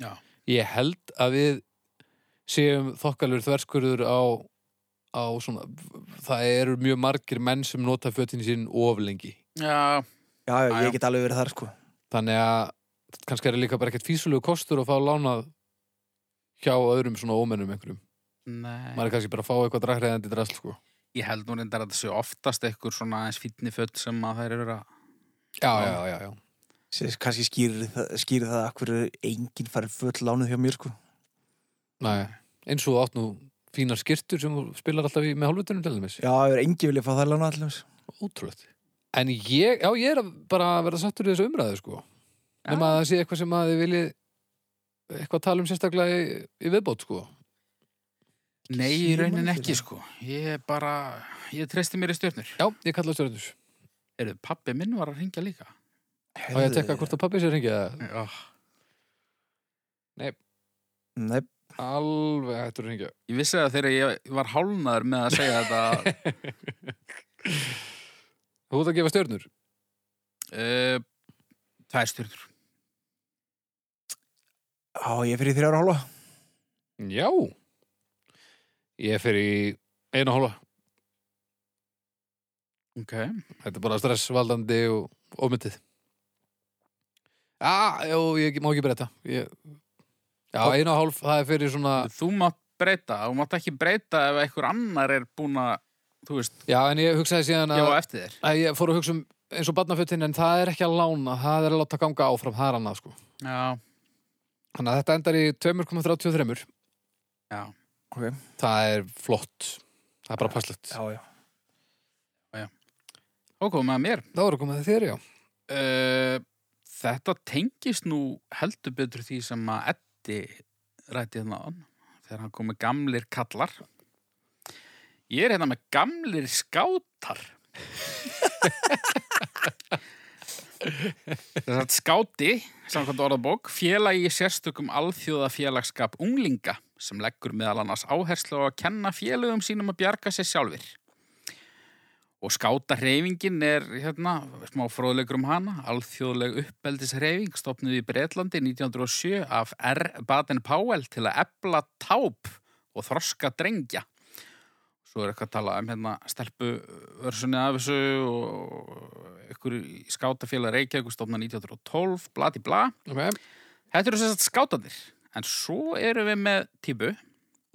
Já. Ég held að við séum þokkalur þverskurður á, á svona það eru mjög margir menn sem nota fötin sín of lengi já, já, já, Já, já. ég get alveg verið þar sko þannig að kannski er líka bara ekkert físulegu kostur að fá lánað hjá öðrum svona ómennum einhverjum nei. maður er kannski bara að fá eitthvað drakræðandi drasl sko. Ég held nú reyndar að þetta séu oftast eitthvað svona aðeins fínni fött sem að þær eru að... já, já, já, já, Sér, kannski skýrir það, skýrir það að hverju enginn farið full lánuð hjá mér sko Nei. eins og þú átt nú fínar skirtur sem þú spilar alltaf í með hálfutunum til þeimis Já, það er enginn vilja fá það lánuð allir Ótrúlegt. En ég, já, ég er að- bara að vera sattur í þessu umræðu, sko. Já. Nefn að það sé eitthvað sem að þið viljið eitthvað tala um sérstaklega í, í viðbót, sko. Nei, í Síðan raunin mann ekki, fyrir. sko. Ég bara, ég treysti mér í stjórnur. Já, ég kalla stjórnus. Eru, pappi minn var að ringja líka. Og ég að tekka hvort að pappi sér hringið það. Já. Nei, Alveg hættur að hringja. Ég vissi það þegar ég var hálnaður með að segja þetta. Þú ert að gefa stjórnur? uh, það er stjórnur. á, ég fyrir þrjára hálfa Já. Ég fer í eina hóla. Ok. Þetta er bara stressvaldandi og ómyndið. Já, jú, ég má ekki breyta. Ég... Já, eina og hálf, það er fyrir svona... Þú mátt breyta. Þú mátt ekki breyta ef einhver annar er búin að, þú veist, Já, en ég hugsaði síðan að... já á eftir þér. Æ, ég fór að hugsa um eins og barnafötin en það er ekki að lána, það er að láta ganga áfram það er annað sko. Já. Þannig að þetta endar í 2,33 Já. Ok, það er flott það er bara passlegt. já, já Ok, með mér. Það voru komið að þér, já. Uh, þetta tengist nú heldur betur því sem að Eddi rætti þannig á hann þegar hann kom með gamlir kallar ég er hérna með gamlir skátar þess að skáti samkvæmt orðabók félagi í sérstökum alþjóða félagskap unglinga sem leggur meðal annars áherslu á að kenna félögum sínum að bjarga sér sjálfir og skátahreyfingin er hérna, smá fróðlegur um hana alþjóðleg uppeldishreyfing stopnuð í Bretlandi 1907 af R. Baden Powell til að epla táp og þroska drengja svo er eitthvað að tala um hérna stelpu örsunni af þessu og ykkur í skátafélag Reykjavík stofna 1912, blati bla Ok. Þetta eru sem sagt skátanir en svo erum við með típu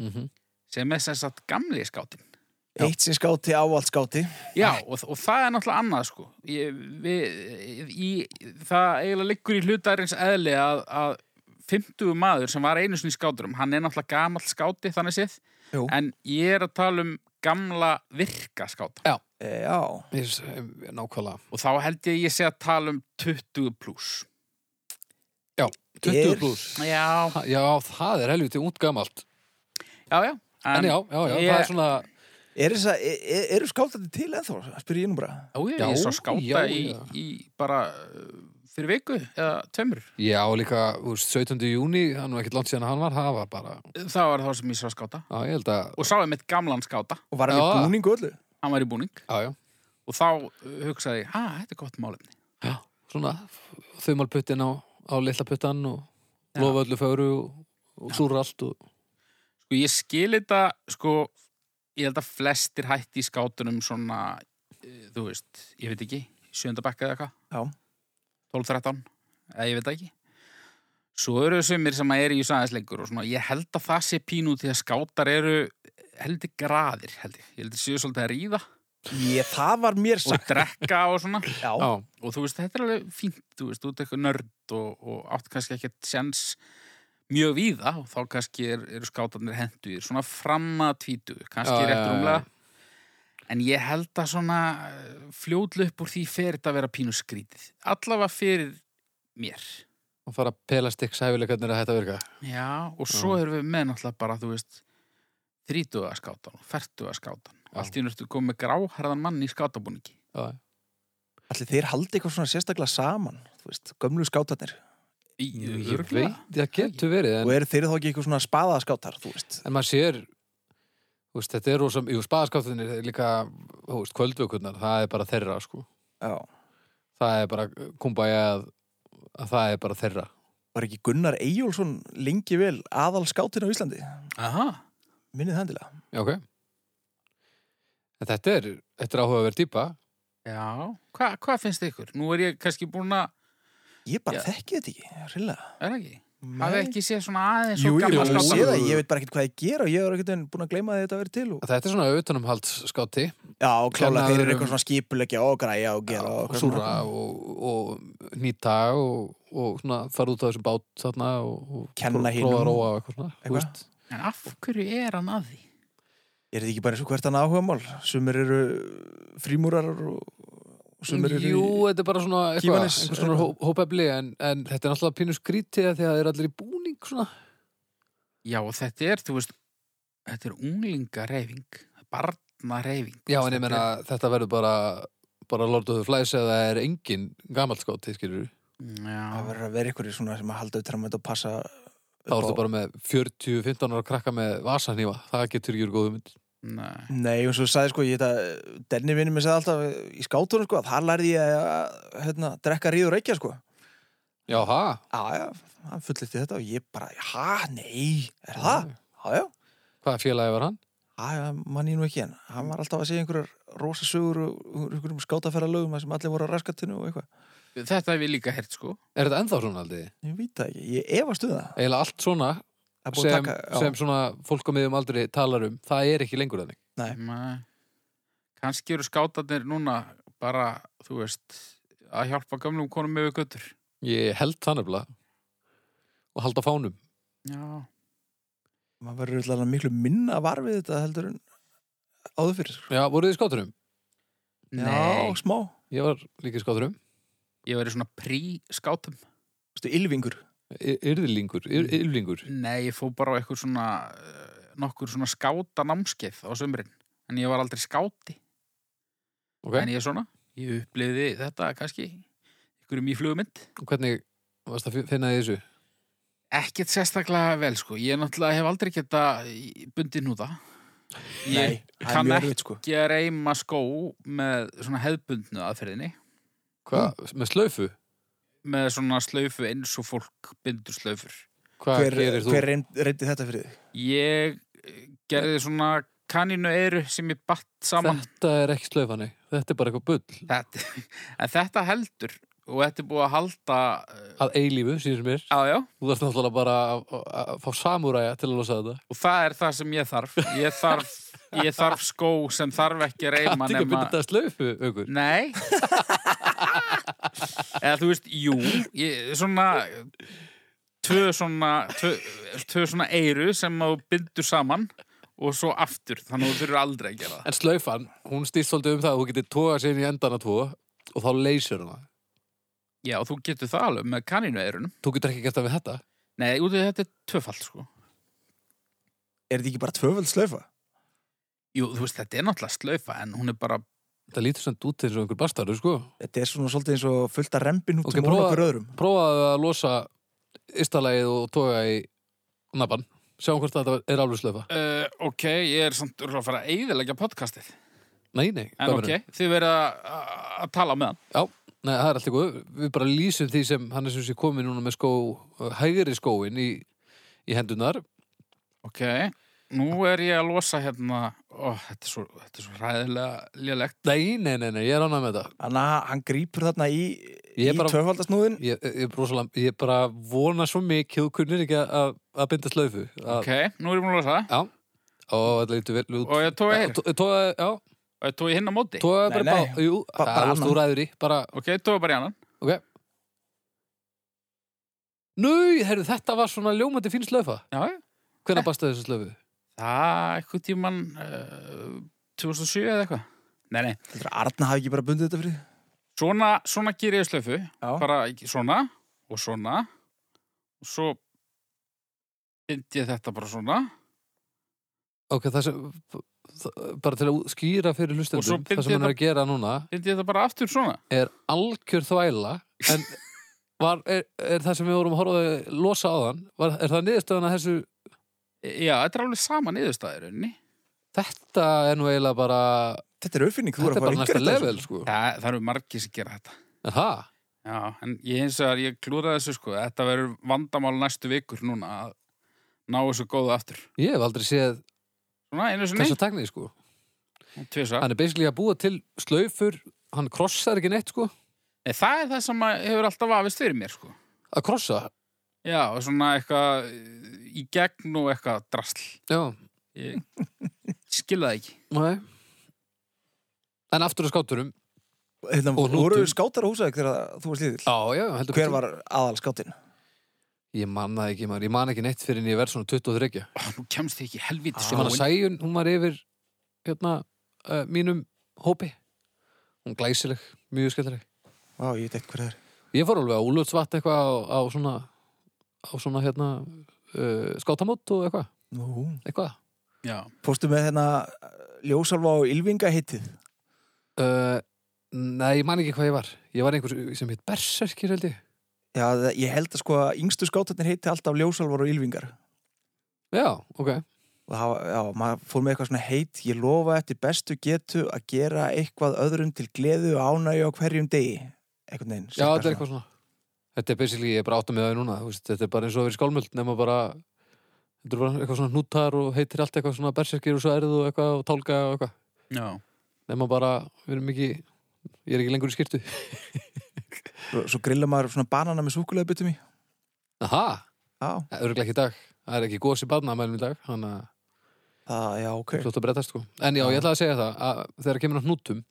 Mm -hmm. sem er sem sagt gamli skátin Já. Eitt sem skáti á allt skáti Já, og, og það er náttúrulega annað sko ég, við, í, það eiginlega liggur í hlutarins eðli að, að 50 maður sem var einu sinni í skáturum hann er náttúrulega gamall skáti þannig séð Jú. en ég er að tala um gamla virka skáta e, Já, Nákvæmlega. og þá held ég að ég sé að tala um 20 pluss. 20 Er- pluss. Já. Ha- Já, það er helviti út gamalt. Já, já. En, já, já, já, ég- það er svona... er þess að, e- e- eru skátandi til ennþá? Spyr ég nú bara já, Já, ég svo skáta já, í, já. í bara uh, fyrir viku eða tveimur. Já, líka, þú veist, 17. júni, það er nú ekkert langt síðan að hann var, það var bara... Það var þá sem ég svo skáta. Já, ég held að... Og sá ég mitt gamlan skáta, Og var hann í Já. búningu öllu? hann var í búning Já, já. og þá uh, hugsaði ég, að þetta er gott málefni. Já, svona, þumalputtin á, á litla puttan og Já. lofa öllu fögru og, og súra allt og... Sko ég skil þetta, sko, ég held að flestir hætti í skátunum svona, uh, þú veist, ég veit ekki, sjöndabekka eða eitthvað. Já 12-13, eða ég veit það ekki svo eru sumir sem er í þessu aðeins lengur og svona, ég held að það sé pínu út því að skátar eru heldur graðir, held ég, ég held að séu svolítið að ríða Ég, það var mér og sagt drekka og svona Já, Já, og þú veist, þetta er alveg fínt, þú veist, þú ert eitthvað nörd og, og átt kannski ekkert sjans mjög víða og þá kannski er, eru skátarnir hendur svona fram að tvítu, kannski Já, já, rétt já, já. rúmlega en ég held að svona fljóðlu upp úr því fer þetta að vera pínu skrítið allavega fyrir mér og fara að pela stikk sæfileikarnir að þetta virka. Já, og svo erum við með náttúrulega bara, þú veist, þrítuða skátan og fertuða skátan. Já. Allt í nörtu komið gráharðan mann í skátabúningi. Já, já. allir þeir haldi eitthvað svona sérstaklega saman Þú veist, gömlu skátarnir Ég veit, það getur verið, en, Og eru þeir þá ekki eitthvað svona spaðaskátar, þú veist en maður sér, þú veist, þetta er rosa, jú, spaðaskáttinir er líka, þú veist, kvöldvökunnar, það er bara þeirra, sko. Já Það er bara, kumbæja, að, að það er bara þeirra. Var ekki Gunnar Eyjólfsson lengi vel aðal skátin á Íslandi? Aha, Minnið það endilega Já, ok. En þetta er, þetta er áhugaverð dýpa. já. Hva, hvað finnst ykkur? Nú er ég kannski búin að, Ég bara Já. þekki þetta ekki, rillega er það ekki? Hafið ekki séð svona aðeins Jú, og jú, gamla ég sé skátan? það, ég veit bara ekkert hvað ég gera og ég er ekkert búin að gleyma að þetta að vera til og... Þetta er svona auðvitaðnumhaldsskáti Já, klála, þeir eru Kennarum- eitthvað svona skipulegja og græja og gera og og eitthvað súra svona. og, og nýta og, og svona fara út á þessu bát þarna og, og Kenna pró- hinum. prófa að róa og eitthvað svona þú Eitthvað. veist. En af hverju er hann að því? Er þetta ekki bara eins og hvert hann áhuga mál? Sumir eru frímúrar og sumir eru Jú, þetta er bara svona eitthvað, Kívanis, einhvers svona eitthvað. hópefli en, en þetta er náttúrulega pínu skrítið af því að það er allir í búning svona Já, og þetta er, þú veist, þetta er unglingareyfing, barnareyfing. Já, en ég meina þetta verður bara bara Lord of the Flies eða það er engin gamalt skáti, skilur Það Já, verður að vera ykkur í svona sem að halda utan um þetta og passa þá ertu bara með 40-15 ára krakka með vasanýfa, það getur ekki verið góðu mynd nei. Nei, og svo sagði sko, ég þetta, Denni vinni mér sagði alltaf í skátunum sko, að þar lærði ég að hérna, drekka ríður reykja sko. Já, ha? Já, já, hann fullist þetta og ég bara, ha, nei, er það? Já, já, Hvaða félagi var hann? já, já, mann ég nú ekki en hann var alltaf að segja einhverjar rosa sögur og úr einhverjum skátaferðalögum þar sem allir voru á raskatinu og eitthvað. Þetta hef ég líka hert, sko. Er þetta ennþá svona aldrei? Ég veit það ekki, ég efast um það. Eila allt svona Það er búið sem, að taka, já, sem svona fólk á miðjum aldrei talar um það er ekki lengur þannig Nei. Nei. eh, Kannski eru skátarnir núna bara, þú veist, að hjálpa gamlum konum með göttur. ég held það nefnilega og halda fánum Já. maður verður alltaf miklu minna var við þetta heldur en áður fyrir. Sko. já, voruð þið í skáturum? Nei, Já, smá. ég var líka í skáturum ég verið svona prí-skátum. Vistu, ylvingur. yrðlingur, yr- Mm. yrðlingur Nei, ég fó bara á eitthvað svona, eh, nokkur svona skátanámskeið á sömurinn. En ég var aldrei skáti. En ok, ég er svona, ég upplifði þetta kannski, ykkur um í flugmynd. Og hvernig varst að finna því þessu? Ekkert sérstaklega vel, sko. Ég náttúrulega hef aldrei geta bundið núða. Ég það er kann mjög ekki erfitt sko. að reyma skó með svona hefðbundnu aðferðinni. Hvað, Mm. með slaufu? með svona slaufu eins og fólk bindur slaufur. Hvað Hver, gerir þú? hver reynd- reyndi þetta fyrir þig? Ég eh, gerði svona kaninu eru sem ég batt saman Þetta er ekki slöfani, þetta er bara eitthvað bull þetta, en þetta heldur og þetta er búið að halda eh, að eilífu, síðan sem er á, já, Þú þarft náttúrulega bara að, að, að fá samúræja til að losa þetta og það er það sem ég þarf ég þarf, ég þarf skó sem þarf ekki Þetta reyma er ekki að nema byrja þetta að slöfu, aukur Nei Eða þú veist, jú ég, Svona Tvö svona Tvö, tvö svona eiru sem þú bindur saman Og svo aftur Þannig að þú þurfur aldrei að gera það En slöfan, hún stýrst svolítið um það að þú getur tóga sér inn í endana tvo og þá leysir hana Já, og þú getur það alveg með kaninu eirunum Þú getur ekki gert það við þetta Nei, út af því að þetta er tvöfald sko Er þetta ekki bara tvöföld slöfa? Jú, þú veist, þetta er náttúrulega slaufa En hún er bara Þetta lítur samt út eins og einhver bastardur, sko Þetta er svona svolítið eins og fullt að rembin út Ok, um prófa- okkur öðrum. Prófaðu að losa ystalegið og tóga í nabban Sjáum hvort þetta er alveg slöfa uh, Ok, ég er samt örugglega að fara að eigðilega podcastið Nei, nei, En gamanurinn. ok, þið verða að að tala með hann Já, nei, það er allt í góð Við bara lýsum því sem hann er sem sé komið núna með skó, hægri skóin í, í hendunar Ok, nú er ég að losa hérna Ó, þetta er svo, þetta er svo ræðilega lélegt Nei, nei, nei, nei, ég er ánægð með þetta Þannig að hann grýpur þarna í, Ég í er bara- tvöfaldasnúðin. Ég, ég, er rosalega- ég bara vona svo mikið þú kunnir ekki að, að binda slöfu að, Ok, nú er ég búin að losa það Já, og þetta lítur vel út Og ég tói hér, Tó- Tóða, já, og ég tói hinn á móti tóða bara eh. Nei, bá Jú, ba- bara það er annan. þú ræður í bara, Ok, ég tói bara í annan ok Nú, herru, þetta var svona ljómandi fín slöfa Já, já. Hvenær bastaði þessu slöfu? það er eitthvað tíman uh, 2007 eða eitthvað Nei, nei, Þetta er Arna hafi ekki bara bundið þetta fyrir. því? svona, svona gýr ég slöfu Já. Bara ekki- svona og svona Og svo bind ég þetta bara svona Ok, það sem það- bara til að skýra fyrir Og svo hlustendum bind það sem ég hann er að gera núna Bind ég þetta bara aftur svona er algjör þvæla en var, er, er það sem við vorum að horfa að losa á þann var, er það niðurstöðan að þessu Já, þetta er alveg sama niðurstaðirunni þetta er nú eiginlega bara Þetta er uppfinning, þú er þetta er að fara bara næsta ykkur level sko Það, það eru margir sem gera þetta en það, Já, en ég hins vegar, ég klúraði þessu sko, þetta verður vandamál næstu vikur núna að ná þessu góðu aftur. ég hef aldrei séð Svona einu sinni, þessa tækni sko tvisa. hann er basically að búa til slaufur hann krossar ekki neitt sko Nei, það er það sem að hefur alltaf vafist fyrir mér sko. að krossa, Já, og svona eitthvað eh, í gegn og eitthvað drasl. já, Ég skil það ekki. nei en aftur að skáturum Hérna, Og voru hnútum. skátar á húsæk þegar þú varst lítill? já, já, heldur Hver betur. var aðal skátin? Ég man það ekki, maður, ég man ekki neitt fyrir en ég verð svona 23. Ó, nú kemst þið ekki helviti Ég man að skóin. Sæjun, hún var yfir hérna, uh, mínum hópi. Hún glæsileg, mjög skellurleg. Vá, ég veit eitthvað hver það er. Ég fór alveg á úlöftsvatt eitthvað á, á svona, á svona hérna, uh, skátamót og eitthvað, Nú, eitthvað. Já, fórstu með hérna ljósalva og ylvinga heitið. Uh, nei, ég man ekki hvað ég var. Ég var einhver sem hitt Berserkir held ég. Já, það- ég held að sko að yngstu skátarnir heiti alltaf ljósalvar og ylvingar. Já, ok. og það, var- já, maður fór með eitthvað svona heit ég lofa eftir bestu getu að gera eitthvað öðrum til gleðu og ánægju á hverjum degi einhvern veginn Já, þetta er eitthvað svona. Þetta er basically, ég er bara áttum með það núna, þú veist, þetta er bara eins og að vera í skálmöld nema bara, þetta er bara eitthvað svona hnútar og heitir allt eitthvað svona berserkir og sverð og eitthvað og tálga og eitthvað. já. Nema bara, við erum ekki, ég er ekki lengur í skirtu. svo, svo grilla maður svona banana með súkulega byttum í Aha, já, það er örgulega ekki í dag. Það er ekki góðs í barnamælum í dag, þannig að það, já, ok fljótt að breytast sko. En já, Já. ég ætlaði að segja það, að þegar kemur að hnútum,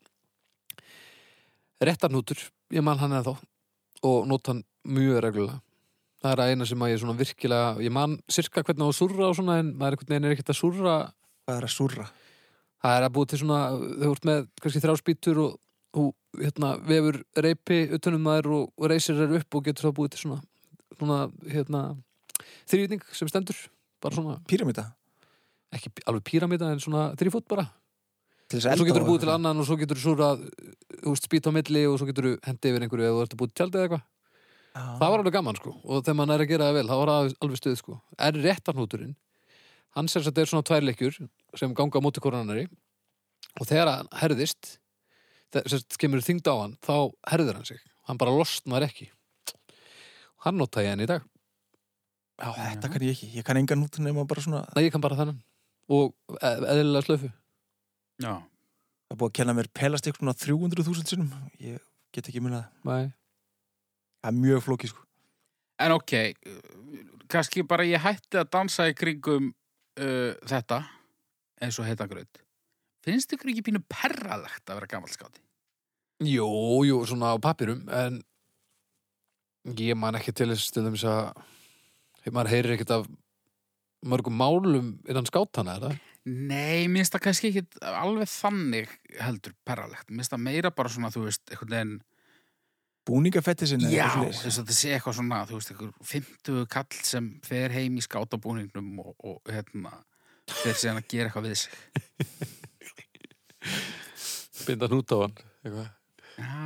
réttar hnútur, ég man hann eða þá og nota hann mjög reglulega. Það er að eina sem að ég svona virkilega, ég man sirka hvernig á að surra og svona en maður einhvern veginn er ekkert að surra. hvað er að súrra Það er að búið til svona, þau ert með kannski þrjá spýtur og, og hérna, vefur reypi utanum maður og, og reysir þær upp og getur það búið til svona, svona hérna, þrývitning sem stendur. Bara svona, píramíta ekki pí- alveg píramíta en svona þrýfót bara. til þess Og að svo getur þú búið til annar annan og svo getur þú surrað, þú veist, spýt á milli og svo getur þú hendi yfir einhverju eða þú ert að búið til tjaldið eða eitthvað. Það var alveg gaman sko og þegar maður er að gera það vel þá var það alveg stuð sko Er réttarnúturinn hann sem sagt er svona tværleikjur sem ganga á móti koronari og þegar hann herðist þegar sem sagt kemur þyngd á hann þá herðir hann sig, hann bara losnar ekki Hann notaði ég hann í dag já, þetta kann ég ekki, ég kann engan út nema bara svona Nei, ég kann bara þennan og e eðlilega slöfu Já, Það er búið að kenna mér pelast ykkur 300.000 sinnum. Ég get ekki munið það. Nei. Það er mjög flókið sko. en ok, kannski bara ég hætti að dansa í kringum uh, þetta, eins og heita gröð. Finnst ykkur ekki pínu perralegt að vera gammalskáti? Jú, jú, svona á pappirum en ég man ekki til þess til þess að maður heyrir ekkert af mörgum málum innan skátana er það? Nei, minnst það kannski ekki alveg þannig heldur perralegt. Minnst það meira bara svona, þú veist, einhvern veginn Búningafettisinn eða Já, eitthvað svoleiðis. þess að þetta sé eitthvað svona, þú veist, einhver 50 kall sem fer heim í skátabúningnum og, og hérna, fer síðan að gera eitthvað við sig. Binda hnút á hann eitthvað. Já,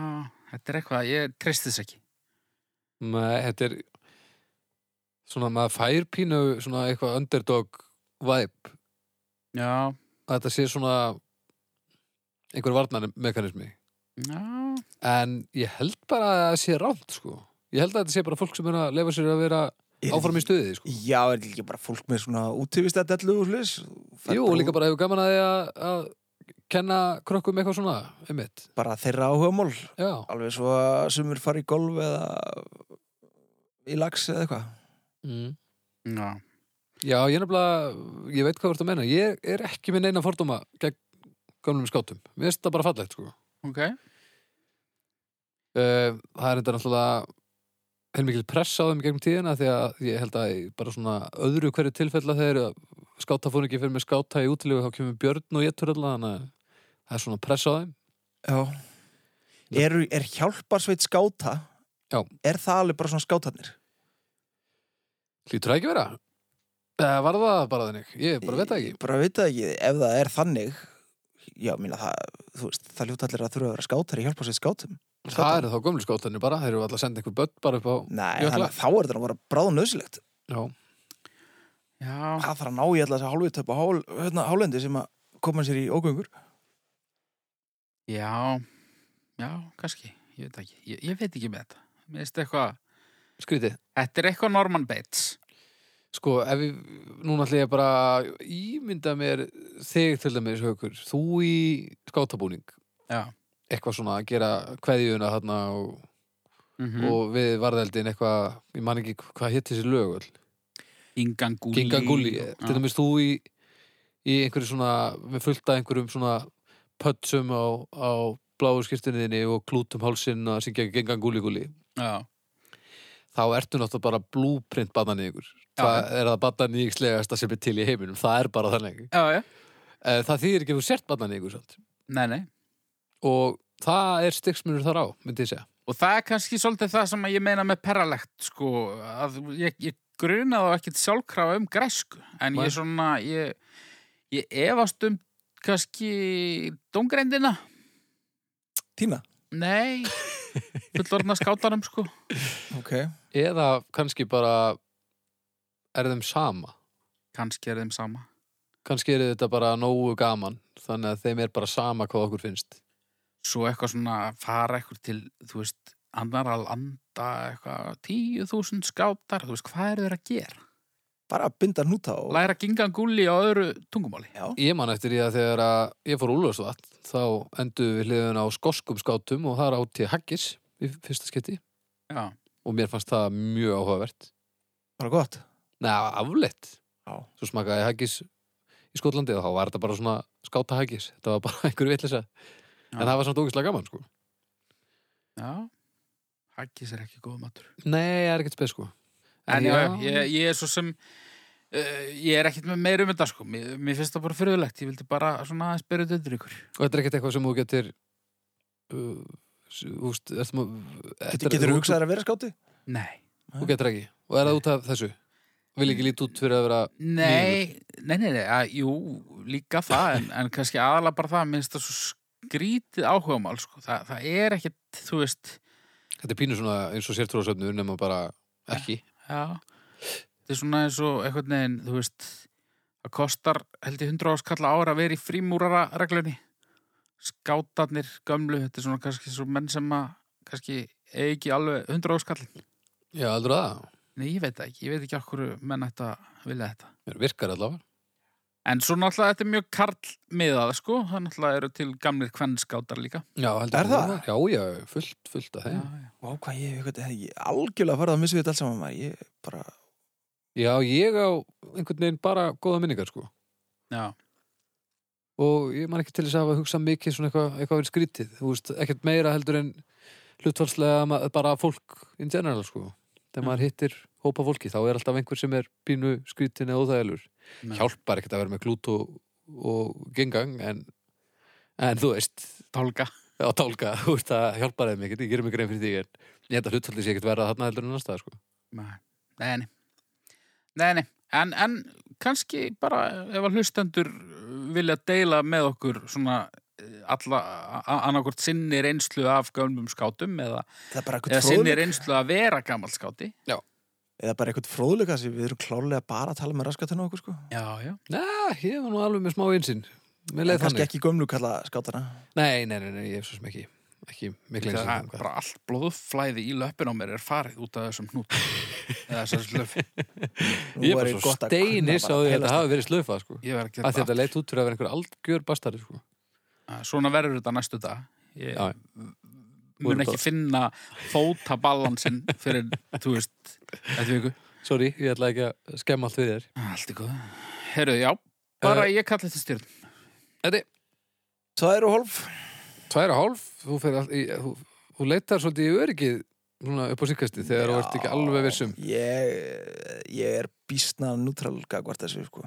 þetta er eitthvað, ég treysti þess ekki. Nei, þetta er svona maður fær pínu svona eitthvað underdog vibe Já, að þetta sé svona einhver varnarmekanismi já, en ég held bara að það sé rámt sko. ég held að þetta sé bara fólk sem er að lefa sér að vera Er- áfram í stuði sko. Já, er þetta ekki bara fólk með svona útífistættellu og slis? Jú, og líka bara hefur gaman að því að, að kenna krökkum eitthvað svona, einmitt. Bara þeirra áhugamál. Já, Alveg svo að sumir fara í golf eða í lags eða eitthvað. mm. já. já ég nefnilega, ég veit hvað þú ert að menna. Ég er ekki með neina fordóma gegn gamlum skátum. Mér finnst það bara fallegt, sko. Ok, Uh, það er þetta náttúrulega heilmikil press á þeim í gegnum tíðina því að ég held að í bara svona öðru hverju tilfella þegar skátafóningi fyrir með skáta í útilegu þá kemur Björn og ég tur alltaf þannig að það er svona press á þeim. Já. Er, er hjálparsveit skáta? Já. Er það alveg bara svona skátarnir? Lítur það ekki vera? Eða var það bara þannig? Ég bara veit það ekki. Bara veit það ekki. Ef það er þannig, já, mína það, þú veist, það ljóta allir að þurfa að vera skátar í hjálparsveit skátum. Það eru þá gömlu skátanir bara, þeir eru alltaf að senda einhver börn bara upp á Nei, Jökla. þannig að þá er þetta nú bara bráðum nöðsilegt. Já, já, Það þarf að ná í alltaf þessi hálfið töpa hál, hérna, hálendi sem að koma sér í ógöngur. já, já, kannski, ég veit ekki. Ég, ég veit ekki með þetta. Mér finnst eitthvað, skrítið þetta er eitthvað Norman Bates. Sko, ef við, núna ætla ég bara að ímynda mér þig til dæmis haukur, þú í skátabúning Já. eitthvað svona að gera kveðjuna þarna og, Mm og við varðeldin eitthvað, ég man ekki hvað hétt þessi lög öll, Gingangúli. gengangúli til Já, dæmis þú í, í einhverju svona, við fullta einhverjum svona pötsum á, á bláu skirtinniðinni og klútum hálsinn að syngja gengangúli gúli já, þá ertu náttúrulega bara blúprint badnan í ykkur. Það er það badnan í ykkur sem er til í heiminum. Það er bara þannig. já, já. Eh, Það þýðir ekki að þú sért badnan í ykkur samt. Nei, nei. Og það er styggsmunur þar á, myndi ég segja. Og það er kannski svolítið það sem ég meina með perralegt, sko, að ég, ég gruna þá ekkit sjálfkrafa um græsku, en Nei. ég svona, ég, ég efast um kannski dóngreindina, Tína. nei, fullorðna skátanum, sko. Ok. Eða kannski bara er þeim sama. Kannski er þeim sama. Kannski er þetta bara nógu gaman. Þannig að þeim er bara sama hvað okkur finnst. Svo eitthvað svona fara eitthvað til, þú veist, annar að landa eitthvað, tíu þúsund skátar, þú veist, hvað eru þeir að gera? Bara að binda hnúta og... Læra gingangúli á öðru tungumáli. Já. Ég man eftir því að þegar að ég fór úlfarsvatn þá endur við hliðun á skoskum skátum og það átti haggis í fyrsta skipti Já, og mér fannst það mjög áhugavert. Bara gott. Nei, það var afleitt. Já. Svo smakaði haggis í Skotlandi og þá var þetta bara svona skáta haggis. Þetta var bara einhver vitlisa. Já. En það var samt ógeðslega gaman, sko. já. Haggis er ekki góð matur. Nei, það er ekkert spes, sko. En já, ég, ég er svo sem uh, ég er ekkert með meira um þetta sko mér, mér finnst það bara fyrirlegt, ég vildi bara svona aðeins byrja þetta undir ykkur Og þetta er ekkert eitthvað sem þú getur... Uh, s- þú veist, ertu maður... Getur, getur þú hugsað þér að vera skáti? Nei, Þú getur ekki. Og er það út af þessu? Vil ekki líti út fyrir að vera... nei, nei, nei, nei að, jú, líka það en, en kannski aðalega bara það, mér finnst það svo skrítið áhugamál sko, Þa, það er ekkert, þú veist Þetta er pínu svona eins og sértrúarsöfnu nema bara ekki. já, þetta er svona eins og eitthvað neginn, þú veist það kostar, held ég, 100 áskalla ára að vera í frímúrara reglunni skátarnir gömlu, þetta er svona kannski svo menn sem að kannski eigi ekki alveg 100 áskall Já, heldur það. Nei, ég veit það ekki. Ég veit ekki okkur menn ættu að vilja þetta. Mér virkar allavega. En svo náttúrulega þetta er mjög karlmiðað, sko. Það náttúrulega eru til gamlir kvennskátar líka. Já, heldur Er það? Já, já, fullt, fullt af þeim. já. Vá, hvað ég, ég, ég, ég algjörlega farið að missa við þetta alls saman maður. Ég bara, Já, ég á einhvern veginn bara góða minningar, sko. já. Og ég man ekki til þess að hafa hugsað mikið svona eitthvað, eitthvað verið skrítið. Þú veist, ekkert meira heldur en hlutfalslega að ma- bara fólk in general, sko. Þegar Mm. maður hittir hópa fólki, þá er alltaf einhver sem er pínu skrítin eða óþægilegur. Nei. Hjálpar ekkert að vera með glút og, og gengang, en, en þú veist, Tálka. á tálka, þú veist, það hjálpar þeim ekkert, ég gerum mig grein fyrir því, en ég held að hlutfaldið sé ekkert verða þarna heldur en annars staðar, sko. Nei, nei. nei. Nei, nei. En, en kannski bara ef að hlustendur uh, vilja deila með okkur svona eh, alla annarkvort sinni reynslu af gömlum skátum eða, það er bara eða eitthvað sinni fróðleik. reynslu að vera gammal skáti. Eða bara eitthvað fróðleika sem við erum klárlega bara að tala með raskatunum okkur, sko. Já, já. Næ, ég var nú alveg með smá einsinn, mér En leið kannski þannig. ekki gömlu kalla skátana. Nei, nei, nei, nei, ég hef svo sem ekki, ekki mikla Það er einsinn. bara allt blóðflæði í löppin á mér er farið út af þessum hnút. eða þessar slöf. Nú Ég væri er bara svo gott að kunna steinis á bara því að heila þetta hafi verið slöfa, sko. Ég verð að gera Að þetta leit út fyrir að vera einhver algjör bastari, sko. Að Svona verður þetta næstu dag. Ég Já, mun voru ekki bara- finna fótabalansin fyrir, þú veist, þetta viku. sorry, ég ætla ekki að skemma allt við þér. Ah, Allt í Eh, góða. Herru, já, bara ég kalli þetta stjórn. Þetta er Tvær og hálf. tvær og hálf, þú, fer all, í, þú, þú leitar svolítið í öryggið svona upp á síkastið þegar þú ert ekki alveg um. vissum. Ég, ég er býstna nútral gagvart þessu, sko.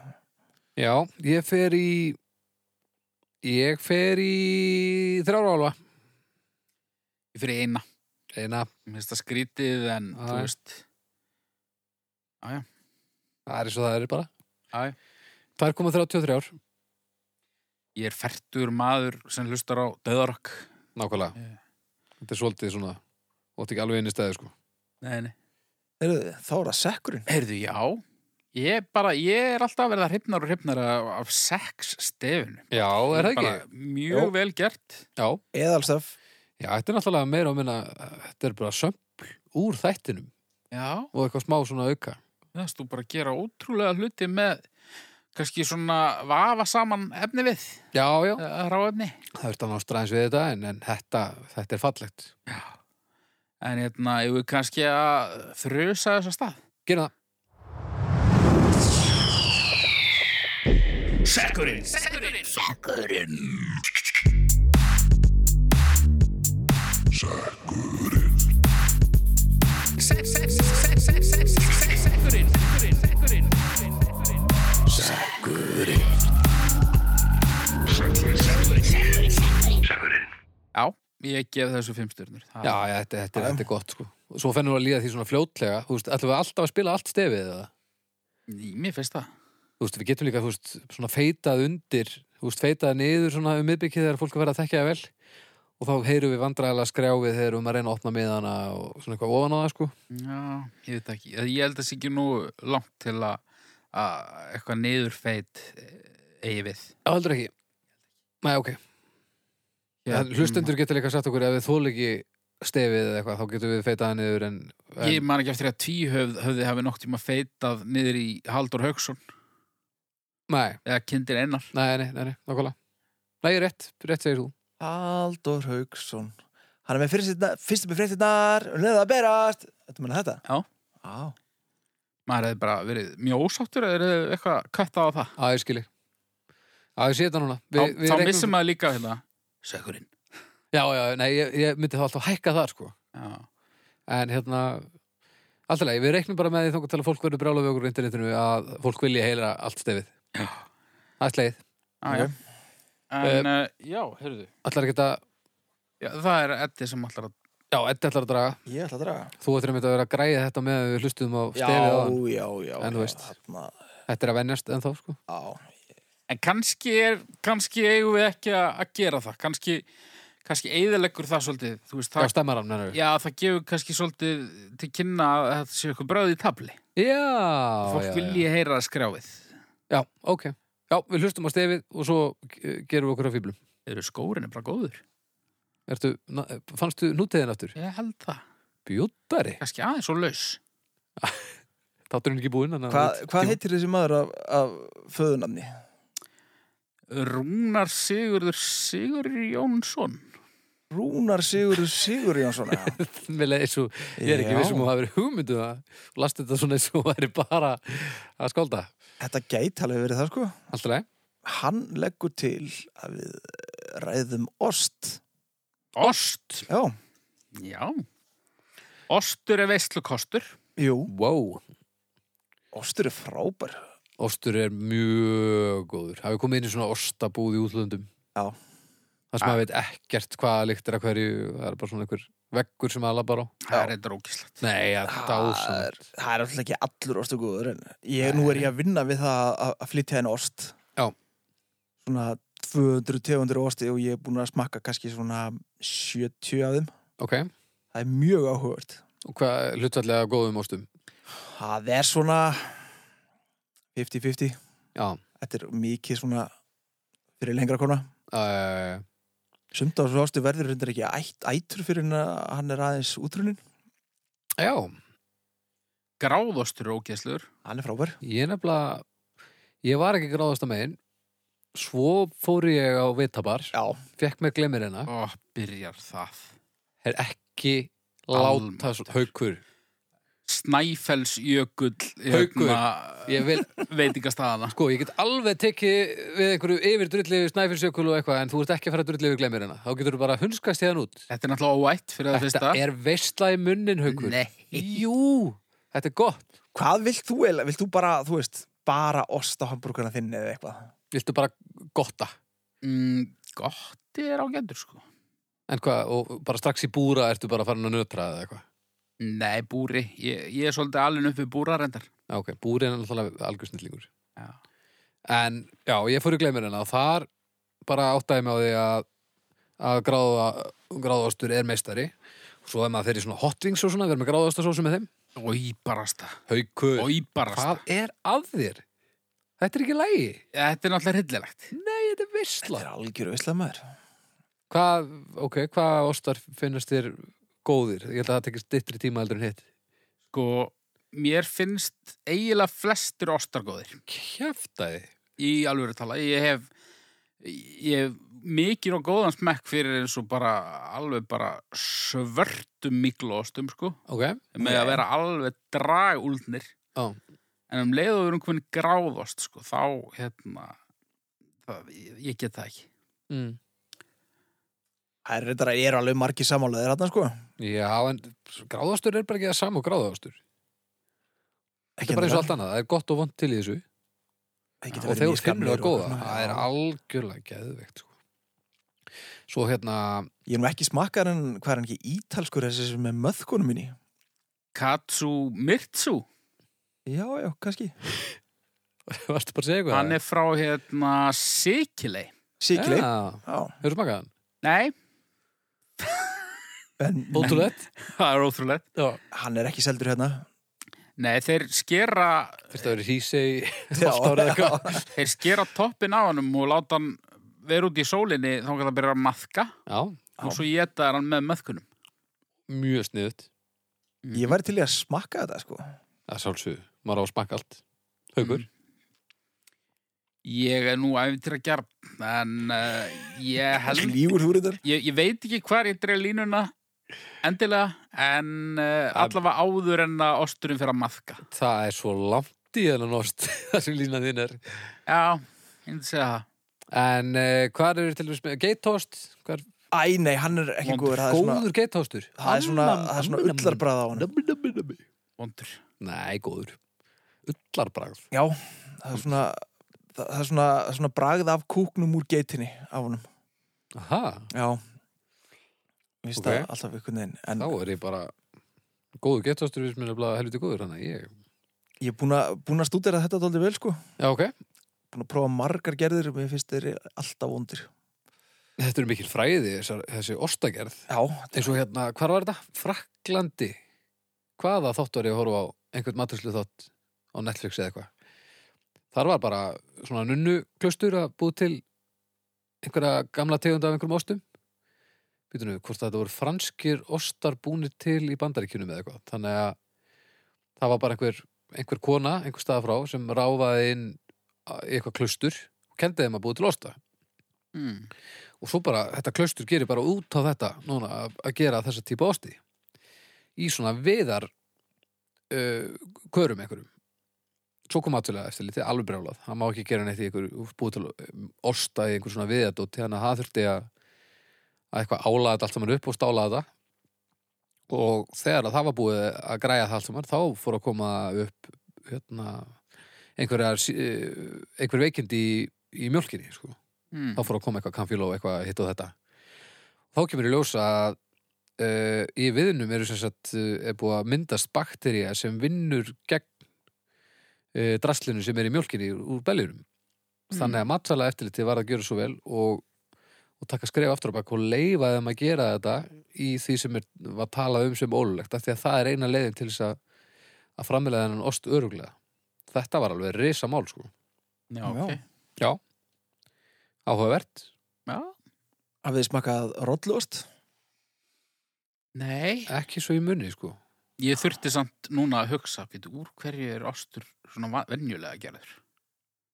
Já, ég fer í ég fer í þrjára álfa Fyrir eina. eina, Mér finnst það skrítið en, Já, þú já. veist, það er eins og það er bara Já, já. 2,33 ár, ég er færtur maður sem hlustar á döðarokk. nákvæmlega Já. þetta er svolítið svona, ótt ekki alveg inn í stæði sko. Nei, nei. Heyrðu, þá er það sekkurinn. Herru, já, ég er bara, ég er alltaf að verða hrifnar og hrifnar af, af sex stefinu. Já, er það ekki? Bara Mjög Jú. vel gert. Já, Eðalstaf. já, þetta er náttúrulega meira og minna þetta er bara sömpl úr þættinum Já. og eitthvað smá svona auka Það stú bara að gera ótrúlega hluti með kannski svona vafa saman efni við, Já, já, eh, ráefni. það er þannig að stræðins við þetta en, en þetta, þetta er fallegt En hérna, ég við kannski að þrjusa þessa stað. Gerum það, Já, ég gef þessu fimm stjörnur. Það- já, já, þetta, þetta, er- þetta er gott sko. Og Svo fennum við að líða því svona fljótlega Þú veist, ætlum við alltaf að spila allt stefið eða? Í- Mér finnst það. þú veist, við getum líka, þú veist, svona feitað undir, þú veist, feitað niður svona um miðbyggið þegar fólk er verið að þekkja það vel og þá heyrum við vandræðilega skrjáfið þegar við erum að reyna að opna miðana og svona eitthvað ofan á það, sko. Já, ég veit ekki. Ég held að það sé ekki nú langt til að, að eitthvað niðurfeit eh, eigi við. Já, heldur ekki. Nei, ok. Ja, hlustendur getur líka sagt okkur ef við þól ekki stefið eða eitthvað, þá getum við feitað það niður en, en Ég man ekki eftir að tvíhöfð höfði hafi nokk tíma feitað niður í Haldur Hauksson nei, eða kindir ennar. nei, nei, nei, nei, nákvæmlega. Nei, ég er rétt, rétt segir þú. Haldur Hauksson Hann er með fyrstirnar- fyrstu með fréttinnar og neða að berast Þetta meina þetta? Já. Já, Maður hefði bara verið mjög ósáttur eða hefði eitthvað kött á það. Á, ég skili. Á, ég sé þetta núna. Þá, Við, við þá reiknum- missum maður líka hérna. Sökurinn. Já, já, nei, ég, ég myndi þá alltaf hækka það, sko. Já. En hérna, alltaf leið, við reiknum bara með því þóngu til að fólk verður brála við okkur á internetinu að fólk vilja heyra allt stefið. Já. Ætlaðið. Ah, já. Ok. En, Eh, uh, já, heyrðu. Ætlar ekki að, Já, það er Eddi sem allar að... já, Eddi ætlar að draga. ég ætla að draga Þú ætlar einmitt að vera að græja þetta með að við hlustuðum á Já, stefið á hann. já, já En þú já, veist. þarna- Þetta er að venjast en þá, sko. Já, En kannski er, kannski eigum við ekki að, að gera það. Kannski, kannski eigðilegur það svolítið. Þú veist, Það það... stemmar hann, mennur Já, það gefur kannski svolítið til kynna að þetta sé eitthvað bröð í tabli. Já, Fólk já, já. vilji heyra skrjáfið. Já, ok. Já, við hlustum á stefið og svo eh, gerum við okkur á fýblum. Eru skórin er bara góður? Ertu, na, fannstu nútiðin aftur? Ég held það. Bjúttari. Kannski aðeins og laus. Þátturinn er ekki búinn. þannig að- hvað hva heitir þessi maður af, af föðunafni? Rúnar Sigurður Sigur Jónsson Rúnar Sigurður Sigurjónsson já. Mér leið svo, ég er ekki um Já. vissum að það verið hugmyndu að lasta þetta svona eins og væri bara að skálda. Þetta gæti alveg verið það sko Alltaf leið. Hann leggur til að við eh, ræðum ost Ost, Já, já Ostur er veistlukostur jú, Wow. ostur er frábær Ostur er mjög góður. Hafið komið inn í svona ostabúð í útlöndum. Já. Það sem maður veit ekkert hvaða lykt er að hverju, það er bara svona einhver veggur sem að labbar á. Það er eitthvað ógislegt Nei, það er Það dásamt. er- það er alltaf ekki allur ostu góður en ég, nú er ég að vinna við það að, að flytja henni ost Já. Svona 200 tegundir af osti og ég er búin að smakka kannski svona 70 af þeim Ok, Það er mjög áhugvöld og hvað hlutfallega góðum ostum? Það er svona 50-50 Já, Þetta er mikið svona fyrir lengra kona uh, Sumt á svo ástu verður reyndar ekki ætt, ættur fyrir hann að hann er aðeins útrunin. já, Gráðostur er ógislegur Hann er frábær. ég er nefnilega, ég var ekki gráðast að megin, svo fór ég á vitabar, Já. fekk með glemir hérna, Ó, byrjar það er ekki Almáttugur. láta svo, haukur, Snæfellsjökull hérna, Haukur. Haukur ég vil, Veitingastæðana sko, ég get alveg tekið við einhverju yfir drulli yfir snæfilsjökul og eitthvað, en þú ert ekki að fara að drulli yfir glemir hérna, þá getur þú bara hunskast hérna út. Þetta er náttúrulega óvætt fyrir það fyrsta Þetta er veistla í munnin, haukur. Nei Jú, þetta er gott. Hvað vilt þú eiginlega? Vilt þú bara, þú veist, bara ost á hambúrgarna þinn eða eitthvað? Viltu bara gotta? mm, Gott er ágættur sko En hvað, og bara strax í búra ertu bara farin að nötra eða eitthvað? Nei, búri, ég, ég er svolítið alveg upp við búrarendar Já, ok, búrin er náttúrulega algjör snillingur. Já. En já, ég fór í gleymir hérna og þar bara áttaði mig á því að, að gráða, gráðastur er meistari. Svo er maður þeirri svona hot wings og svona, verður með gráðastasósu með þeim. Íbarasta, Haukur, íbarasta hvað er að þér? Þetta er ekki lægi. Þetta er náttúrulega hryllilegt Nei, þetta er Þetta visla. er algjör visslamaður. Hvað, ok, hvað ostar finnast þér góðir? Ég held að það tekist dittri tíma heldur en hitt. Sko, mér finnst eiginlega flestir ostargóðir Kjæftæði. Í alvöru tala, ég hef Ég hef mikið og góðan smekk fyrir eins og bara Alveg bara svörtum miklóstum, sko Ok, Með að vera alveg dragúldnir Já. En um leið og við erum komin í gráðost, sko Þá, hérna það, ég- Ég get það ekki mm. Það er reyndar að ég er alveg margir samálaðir hann, sko. Já, en gráðastur er bara ekki það sama og gráðastur. Þetta Ekki er bara eins og endilega. allt annað. Það er gott og vond til í þessu. Það getur Og verið þegar mjög finnur skamlegur það góða. og- Það er algjörlega geðveikt. Sko. Svo hérna, Ég er nú ekki smakkar en hvað er hann ekki ítalskur þessi sem er með möðkunum minni? Katsu Mirtsu Já, já, kannski. varstu bara að segja eitthvað? Hann er frá hérna Sikilei Sikilei. Já. Já, hefur smakað hann? Nei, En Ótrúlegt? það er ótrúlegt Já. hann er ekki seldur hérna. Nei, þeir skera Fyrst að vera hýsi í Já, allt árið eitthvað. þeir skera toppin á hann og láta hann vera út í sólinni þá kan það byrja að maðka Já, Já. og svo geta hann með möðkunum mjög sniðut. Ég væri til í að smakka þetta, sko. Það er sálsög. Maður á að smakka allt. Haukur. Mm. Ég er nú æfintir að gera en uh, ég held Lígur þú reyndar? ég, ég veit ekki hvar ég dreif línuna endilega en uh, allavega áður en að osturinn fyrir að maðka Það er svo langt í þennan ost. það sem línan þín er. Já, ég myndi segja það En uh, hvað er til dæmis með geitost? Hvað er Æ, nei, hann er ekki Vond- góður. Það er svona- góður geitostur? Það er svona, það er svona ullarbræð á hann hann Vondur Nei, góður Ullarbragð Já, það er svona það það er svona, það er svona bragð af kúknum úr geitinni af honum Aha, Já Mér finnst Ok. það alltaf einhvern veginn En þá er ég bara Góður getastur við sem er nefnilega helviti góður Þannig að ég ég er búin að, búin að stúdera þetta dálítið vel sko Já, ok Búin að prófa margar gerðir Mér finnst þeir eru alltaf vondir Þetta eru mikil fræði þessar, þessi ostagerð Já, þetta Eins og hérna, hvar var þetta? Fraklandi Hvaða þátt var ég að horfa á einhvern maturslu þátt á Netflix eða eitthvað Þar var bara svona nunnu klustur að búið til einhverja gamla tegund af einhverjum ostum Býtum við, hvort þetta voru franskir ostar búnir til í bandaríkjunum eða eitthvað Þannig að það var bara einhver, einhver kona, einhver staða frá sem ráfaði inn í eitthvað klustur kendi þeim að búið til osta Mm. og svo bara, þetta klaustur gerir bara út á þetta núna að- að gera þessa típa osti í svona viðar uh, körum einhverjum svo kom aðtölega eftir litið alveg brjálað hann má ekki gera neitt í einhver búið til um, osta í einhver svona viðadótt þannig að það þurfti að, að eitthvað álaða þetta allt saman upp og stála þetta og þegar að það var búið að græja það allt saman þá fór að koma upp hérna, einhverjar sí- eh, einhver veikindi í, í mjólkinni sko Mm. þá fór að koma eitthvað kamfíló og eitthvað hitt og þetta þá kemur í ljós að uh, í viðnum eru sem sagt uh, er búið að myndast bakterja sem vinnur gegn uh, draslinu sem er í mjólkinni úr- úr beljurum þannig að matsala eftirliti var að gjöra svo vel og, og taka skref aftur á bak og leifa þeim að gera þetta í því sem er, var talað um sem ólulegt af því að það er eina leiðin til þess að að framlega þennan ost öruglega þetta var alveg risa mál sko Já, ok. áhugavert Já. Hafið þið smakað rolluost? Nei. ekki svo í munni sko Ég þurfti samt núna að hugsa, býtu, úr hverju er ostur svona va- venjulega gerður?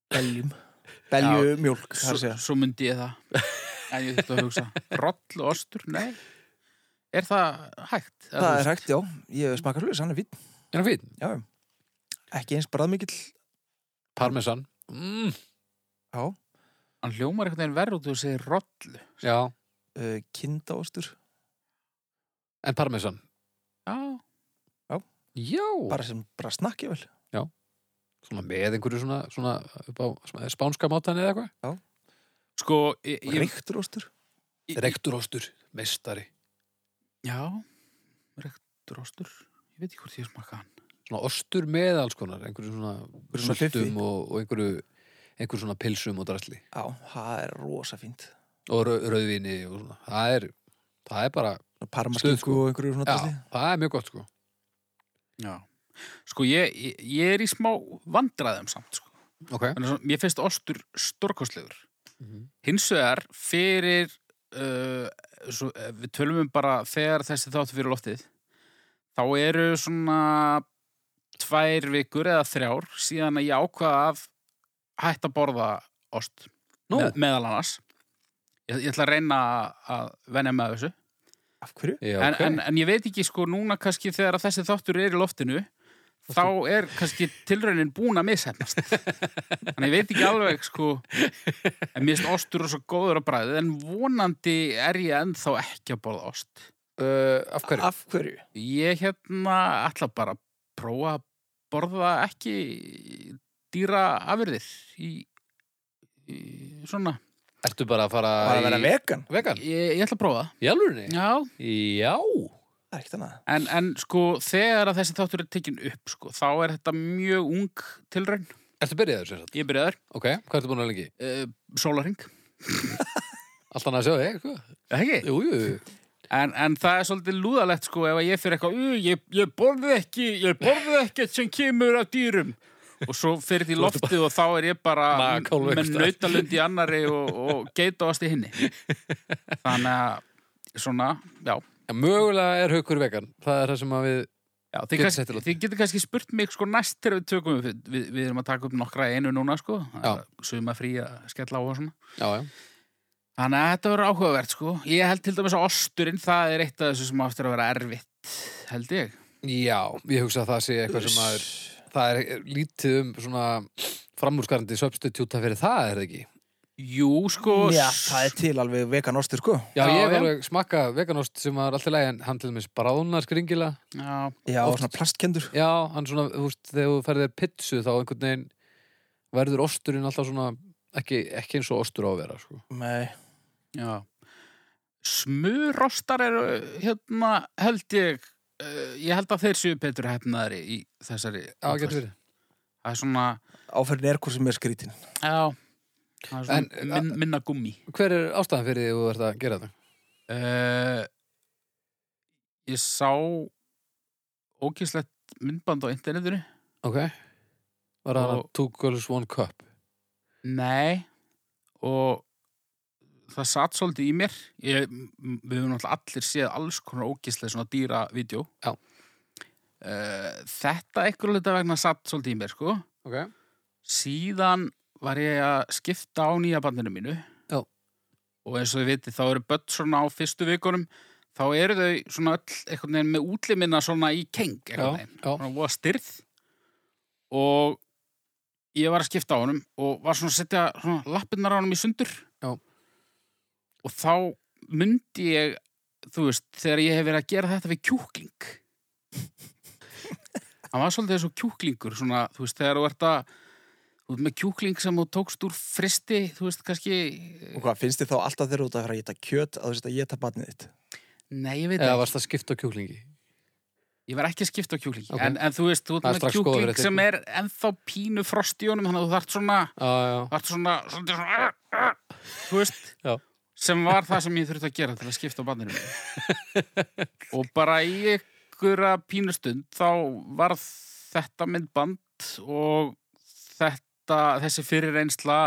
Beljum. Belju mjólk, það er Svo, að segja. svo myndi ég það. En ég þurfti að hugsa, roll og ostur, nei. Er það hægt? Það er hægt, já. Ég hef smakað hlutið, hann er fín. er hann fín? Já, já. Ekki eins bræðmikill. Parmesan mm, Já. Hann hljómar einhvern veginn verð og þú segir rollu. Já, Uh, kindaostur. en parmesan Já, Já, Bara sem, bara snakki vel. svona með einhverju svona, svona upp á svona spánska mátan eða eitthvað sko, ég... ég- Reyktur ostur. ég- Rekturostur, meistari Já, reyktur ostur. Ég veit ekki hvort ég smaka hann. Svona ostur með alls konar einhverju svona Einhverju svona fiffi. sultum og, og einhverju, einhverju svona pilsum og drasli Já, það er rosa fínt. og rau, rauðvinni og svona Það er, það er bara, Stuð, Parmaskinku sko. og einhverju svona já, drasli. það er mjög gott sko Já. Sko, ég, ég, ég er í smá vandræðum samt, sko. Ok Þannig að svona- Mér finnst ostur stórkostlegur. Mhm. Hins vegar fyrir uh, svo, ef við tölum um bara þegar þessi þáttu fyrir loftið þá eru svona tvær vikur eða þrjár síðan að ég ákvaða af hætt að borða ost Nú, meðal annars ég, ég ætla að reyna að venja með þessu Af hverju? já, en, ok en, en ég veit ekki sko núna kannski þegar að þessi þáttur er í loftinu þá er kannski tilraunin búin að mishefnast þannig ég veit ekki alveg sko en mér finnst ostur og svo góður að bræði en vonandi er ég ennþá ekki að borða ost uh, Af hverju? Af hverju? ég hérna ætla bara að prófa að borða ekki dýra afurðir í, í svona Ertu bara að fara Bara að vera í vegan. vegan? ég, ég ætla að prófa það. Í alvörinni? já, Já Það er ekkert annað. En, en sko, þegar að þessi þáttur er tekin upp, sko, þá er þetta mjög ung tilraun. Ertu byrjaður sér þetta? Ég byrjaður, Ok, hvað ertu búin að vera lengi? uh, sólaring. Allt annað að sjá þig, eitthvað? Ekki? Jú, jú, jú. En, en það er svolítið lúðalegt, sko, ef að ég fyrir eitthvað, "Ú, ég, ég borðið ekki, ég borðið ekkert sem kemur af dýrum. Og svo fyrir því loftið og þá er ég bara Makálf einhvers með staðar. nautalund í annari og, og geitavast í hinni. Þannig að, svona, já. En mögulega er haukur vegan. Það er það sem að við... Já, þið, Getur kannski, sett í loftið. þið getur kannski spurt mig sko næst þegar við tökum upp, við, við, við erum að taka upp nokkra í einu núna sko, Já. suma frí að skella á og svona. Já, já. Þannig að þetta verður áhugavert sko. Ég held til dæmis að osturinn, það er eitt af þessu sem áttur að vera erfitt, held ég. Já, ég hugsa að það sé eitthvað sem að er... Það er lítið um svona framúrskarandi substitúta fyrir það, er það ekki? Jú, sko, Já, s- það er til alveg vegan ostur, sko. Já, Já, ég hef já. alveg smakkað veganost sem var alltaf lægi en hann til dæmis bráðnar skringila. já, Já, Oft. svona plastkendur. Já, hann svona, þú veist, þegar þú ferðir þér pitsu þá einhvern veginn verður osturinn alltaf svona ekki, ekki eins og ostur á að vera, sko. Nei. já. Smurostar eru, hérna, held ég, uh, ég held að þeir séu betur hefnaðari í þessari. Já, getur verið. Það er svona, Áferðin er hvort sem er skrítin. já, það er En, svona minn, minna gummi. Hver er ástæðan fyrir því að þú ert að gera þetta? Uh, ég sá ógislegt myndband á internetinu. Ok. Var það hann Og- Two Girls One Cup? Nei. Og það satt svolítið í mér. Ég, m- við höfum náttúrulega allir séð alls konar ógislega svona dýra Eh, vídeo. Já. Uh, þetta ekkur leita vegna satt svolítið í mér, sko. Ok. Síðan var ég að skipta á nýja bandinu mínu Já. og eins og þið vitið þá eru börn svona á fyrstu vikunum þá eru þau svona öll einhvern veginn með útlimina svona í keng einhvern veginn, já. svona voða styrð og ég var að skipta á honum og var svona að setja svona lappirnar á honum í sundur Já. og þá myndi ég þú veist, þegar ég hef verið að gera þetta við kjúkling hann var svolítið eins og kjúklingur svona, þú veist, þegar þú ert að þú veist, með kjúkling sem þú tókst úr fristi þú veist, kannski Og hvað, finnst þið þá alltaf þegar þú ert að fara að geta kjöt að þú sért að geta barnið þitt? nei, ég veit Eða ekki, varst að skipta á kjúklingi? ég var ekki að skipta á kjúklingi Ok. en, en þú veist, þú Það er ert með strax góður kjúkling réttur. sem er ennþá pínu frost í honum, þannig að þú þarft svona Já, já. vart svona, svona, svona þú veist Já. sem var það sem ég þurfti að gera til að skipta á bandinu mínu. og bara í einhverja pínustund þá var þetta myndband og þetta, þessi fyrirreynsla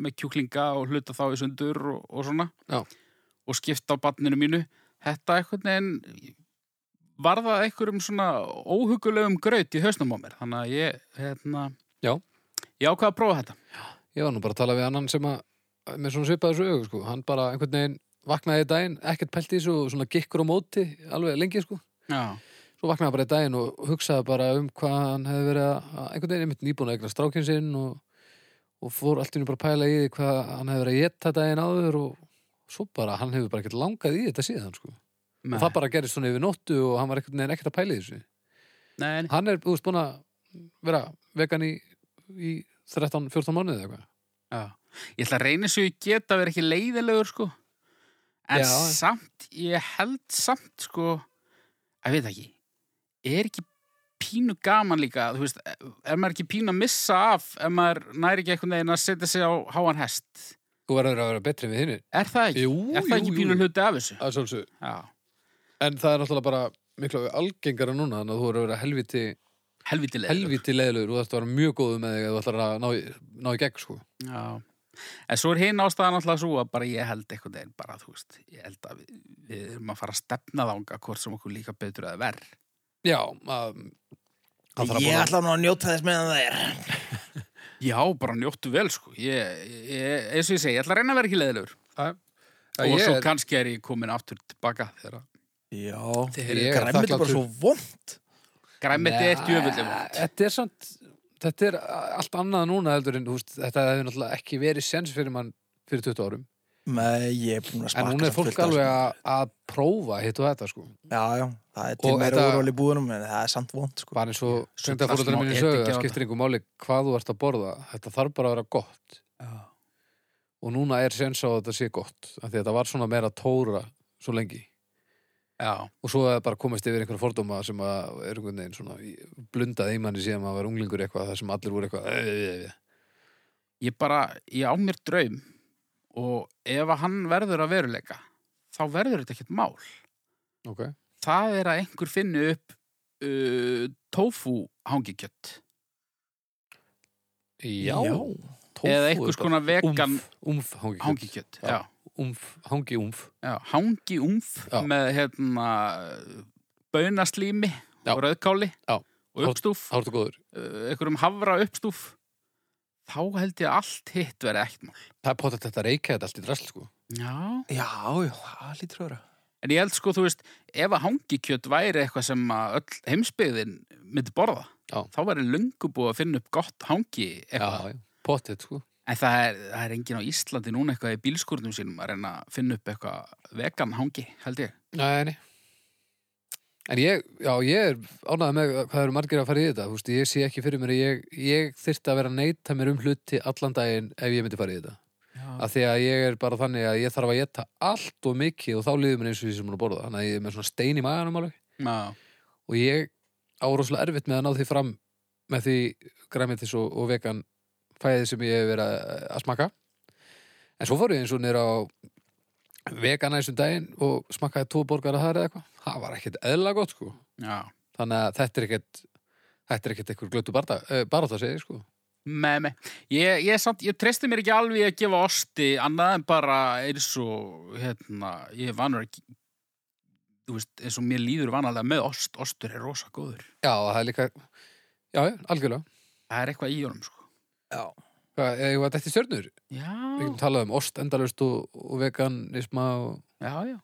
með kjúklinga og hluta þá í sundur og, og svona Já. og skipta á bandinu mínu þetta einhvern veginn var það einhverjum svona óhugulegum graut í hausnum á mér þannig að ég, hérna Já. ég ákvað að prófa þetta Ég var nú bara að tala við annan sem að, með svona svipaði svo ög, sko. Hann bara einhvern veginn vaknaði í daginn, ekkert pælt í þessu og svona gikkur á móti alveg lengi, sko. Já, Svo vaknaði hann bara í daginn og hugsaði bara um hvað hann hefði verið að, að einhvern veginn einmitt nýbúin að eigna strákinn sinn og, og fór allt í henni bara að pæla í því hvað hann hefði verið að geta daginn áður og svo bara, hann hefur bara ekkert langað í þetta síðan, sko. nei, Og það bara gerist svona yfir nóttu og hann var einhvern veginn ekkert að pæla í þessu. nei, nei. Hann er, þú veist, búin að vera vegan í, í 13-14 mánuði eða eitthvað. Já. Ég ætla að reyna svo ég geta að vera ekki leiðilegur sko En Já. samt, ég held samt sko Ég veit ekki Er ekki pínu gaman líka Þú veist, er maður ekki pínu að missa af Ef maður næri ekki einhvern veginn að setja sig á háan hest Þú verður að vera betri við hinnir. Er það ekki? Jú, er það jú, ekki jú, pínu jú. hluti af þessu? Að sjálfsög. Já, En það er náttúrulega bara miklu algengara núna þannig að þú verður að vera helviti, helviti leiðilegur helviti leiðilegur og þú ætti að vera mjög góðu með þig að þú ætlar að ná, í- ná í gegn sko. Já, en svo er hinn ástæðan alltaf svo að bara ég held einhvern veginn bara, þú veist, ég held að við, við erum að fara að stefna þanga hvort sem okkur líka betur eða verð. Já, að, að það Ég er ætla nú að njóta þess meðan það er. Já, bara njóttu vel, sko. Ég, ég, eins og ég segi, ég ætla að reyna að vera ekki leiðilegur. bara og ég svo er, kannski er ég komin aftur tilbaka þegar að Já, Þegar ég er græmið er bara þakklátur. svo vond. græmeti er djöfullið Nei, vond. Þetta er samt þetta er allt annað núna heldur en þú veist, þetta hefur náttúrulega ekki verið sens fyrir mann fyrir 20 árum Nei, ég er búin að en smaka núna er samt fólk fullt af alveg þessu. að, að prófa hitt og þetta sko Já, já, það er Og til meira þetta- úrval í búðunum en það er samt vond, sko. bara eins og Sulla söndafóruldarinn smá minni sögðu edik á að þetta. skiptir yngur máli hvað þú ert að borða þetta þarf bara að vera gott og núna er sens á að þetta sé gott af því að þetta var svona meira tóra svo lengi Já, og svo er bara komist yfir einhverja fordóma sem að er einhvern veginn svona í- blundað í manni síðan maður var unglingur eitthvað þar sem allir voru eitthvað "Ey, ey, ey, ey." ég bara, ég á mér draum og ef að hann verður að veruleika, þá verður þetta ekkert mál. ok, Það er að einhver finni upp uh, tofu hangikjött. já, tófu Eða einhvers konar vegan umf, umf hangi, hangi. hangikjött. Já. Já. umf, hangi umf Já, hangi umf Já. með hérna bönaslími Já. og rauðkáli Já. og uppstúf, þá ertu góður, uh, einhverjum hafra uppstúf þá held ég að allt hitt verið ekkert mál. það er potið þetta reykja þetta allt í drasl sko Já. Já, já, það lítur að vera. En ég held sko, þú veist, ef að hangikjöt væri eitthvað sem að öll heimsbyggðin myndi borða, Já. þá væri löngu búið að finna upp gott hangi já, eitthvað. já, potið sko En það er, það er engin á Íslandi núna eitthvað í bílskúrnum sínum að reyna að finna upp eitthvað vegan hangi, held ég. Nei, nei. En ég, já, ég er ánægð með hvað eru margir að fara í þetta, þú veist, ég sé ekki fyrir mér að ég, ég þyrfti að vera að neita mér um hluti allan daginn ef ég myndi fara í þetta. Já. Af því að ég er bara þannig að ég þarf að geta allt og mikið og þá líður mér eins og því sem hún að borða. Þannig að ég er með svona stein í maganum alveg Já. og ég áróslega erfitt með að ná því fram með því græmitis og, og vegan fæðið sem ég hef verið að, að smaka en svo fór ég eins og nýra á vegana eins og daginn og smakkaði tvo borgara þar eða eitthvað það var ekkert eðla gott sko Já. þannig að þetta er ekkert þetta er ekkert einhver glötu barátt að segja sko Nei, nei, ég, ég, samt, ég treysti mér ekki alveg að gefa osti annað en bara eins og hérna, ég er vanur ekki þú veist, eins og mér líður vanalega með ost, ostur er rosa góður já, það er líka, já, já, algjörlega það er eitthvað í honum, sko Já. Hvað, eða ég var dætti stjörnur? Já, Við getum talað um ost endalust og, og veganisma og... já, já.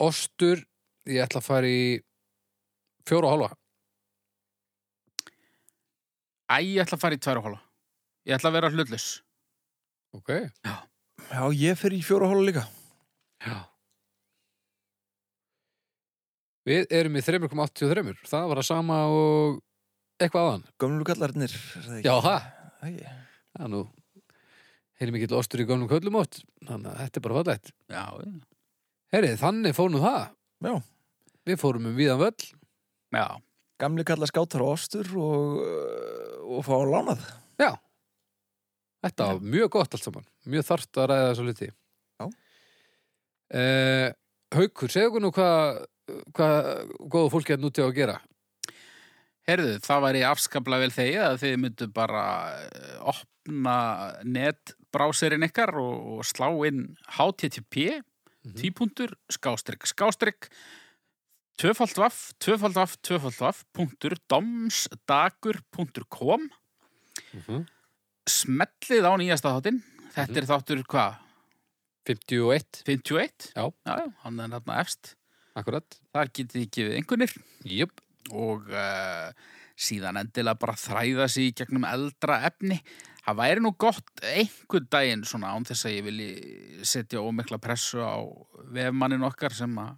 Ostur, ég ætla að fara í fjóra og hálfa. Æ, ég ætla að fara í tvær og hálfa. Ég ætla að vera hlutlaus. Ok. Já, ég fer í fjóra hóla líka Já. Við erum í 3,83. Það var að sama og eitthvað aðan. Gömlu kallarnir er það ekki? Já, það. Það ekki? Það er nú heilum ekki ostur í gömlum köllum átt. Þannig að þetta er bara fallegt. Já, já. Herri, þannig fór nú það. Já. Við fórum um viðan völl. Já, Gamli kallar skátar og ostur og, og fá lánað Þetta var mjög gott allt saman. Mjög þarft að ræða þessa hluti. Já. Eh, Haukur, segðu okkur nú hvað hvað góða fólki er nútið á að gera. Herðu, það væri afskaplega vel þegið að þið myndu bara eh, opna netbráserinn ykkar og, og slá inn http Mhm. típuntur skástrygg skástrygg tvöfald vaff, tvöfald vaff, tvöfald vaff punktur domsdagur.com Mm -hmm. smellið á nýjasta þáttinn þetta Mhm. er þáttur hvað, 51, 51? Já. já, já, hann er þarna efst akkurat. þar getið þið gefið einhvernir Jöp. og uh, síðan endilega bara þræða sig í gegnum eldra efni. Það væri nú gott einhvern daginn svona án þess að ég vilji setja ómikla pressu á vefmannin okkar sem að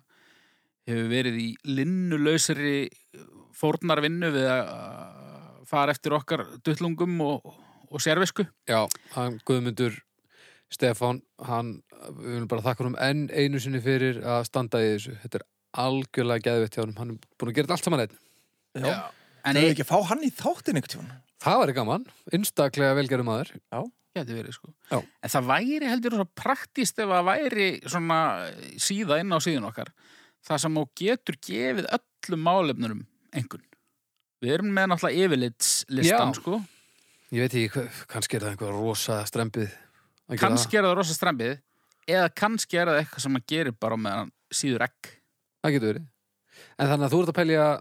hefur verið í linnulausri fórnarvinnu við að fara eftir okkar duttlungum og, og sérvisku. Já, hann Guðmundur Stefán, hann, við viljum bara þakka hann enn einu sinni fyrir að standa í þessu. Þetta er algjörlega geðvett hjá hann. Hann er búin að gera þetta allt saman einn. Já, Já. En Það er ég ekki að fá hann í þáttin einhvern tímann Það væri gaman, einstaklega velgerðum aður. geti verið sko. Já. En það væri heldur svo praktist ef það væri svona eh, síða inn á síðun okkar. Það sem þú getur gefið öllum málefnurum einhvern. Við erum með náttúrulega yfirlitslistan Já. sko. Ég veit ekki, hva- kannski er það einhver rosa strempið. að gera Kannski er það rosa strempið eða kannski er það eitthvað sem maður gerir bara á meðan síður ekk. Það, það getur verið. En þannig að þú ert að pælja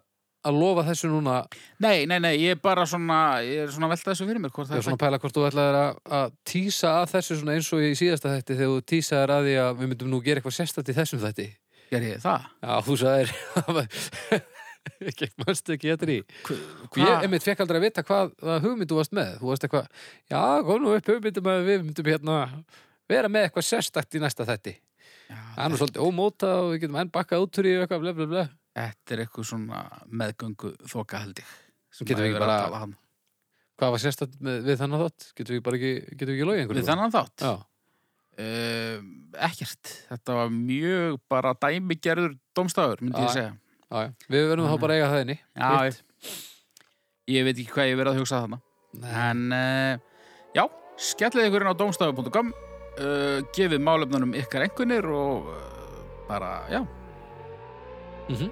að lofa þessu núna, Nei, nei, nei, ég er bara svona, ég er svona að velta þessu fyrir mér hvort ég það er er svona að pæla hvort þú ætlaðir að, að tísa að þessu svona eins og í síðasta þætti þegar þú tísaðir að því að við myndum nú gera eitthvað sérstætt í þessum þætti. það. Ger ég það? Já, þú sagðir ekki, manstu ekki þetta í Hva? Ég einmitt fekk aldrei að vita hvað, hvað hugmynd þú varst með Þú varst eitthvað, já, kom nú upp hugmyndum að við myndum hérna vera með eitthvað sérstakt í næsta þætti Það er nú svolítið ómóta og við getum enn bakkað út úr í eitthvað, ble, ble, ble Þetta er eitthvað svona meðgöngu þoka held ég. sem Getum við maður hefur verið að bara- tala hann. Hvað var sérstakt með, við þannig þátt? Getum við bara ekki, getum við ekki logið einhverju? Við þannig þátt. Já, Uh, ekkert. Þetta var mjög bara dæmigerður domstafur, myndi Já, ég segja. já, já, við verðum Mm. þá bara að eiga það inni Já, ég, ég veit ekki hvað ég hef verið að hugsa þarna. Nei, En uh, já, skellið ykkur inn á domstafur.com, uh, gefið málefnunum ykkar einhvernir og uh, bara, já, mhm.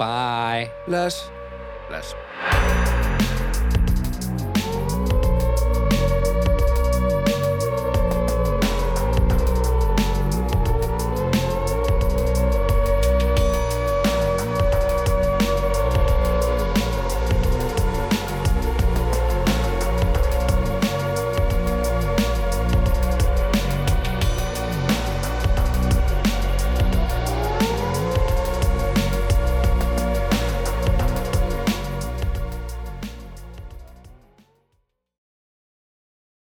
Bye Bless bless.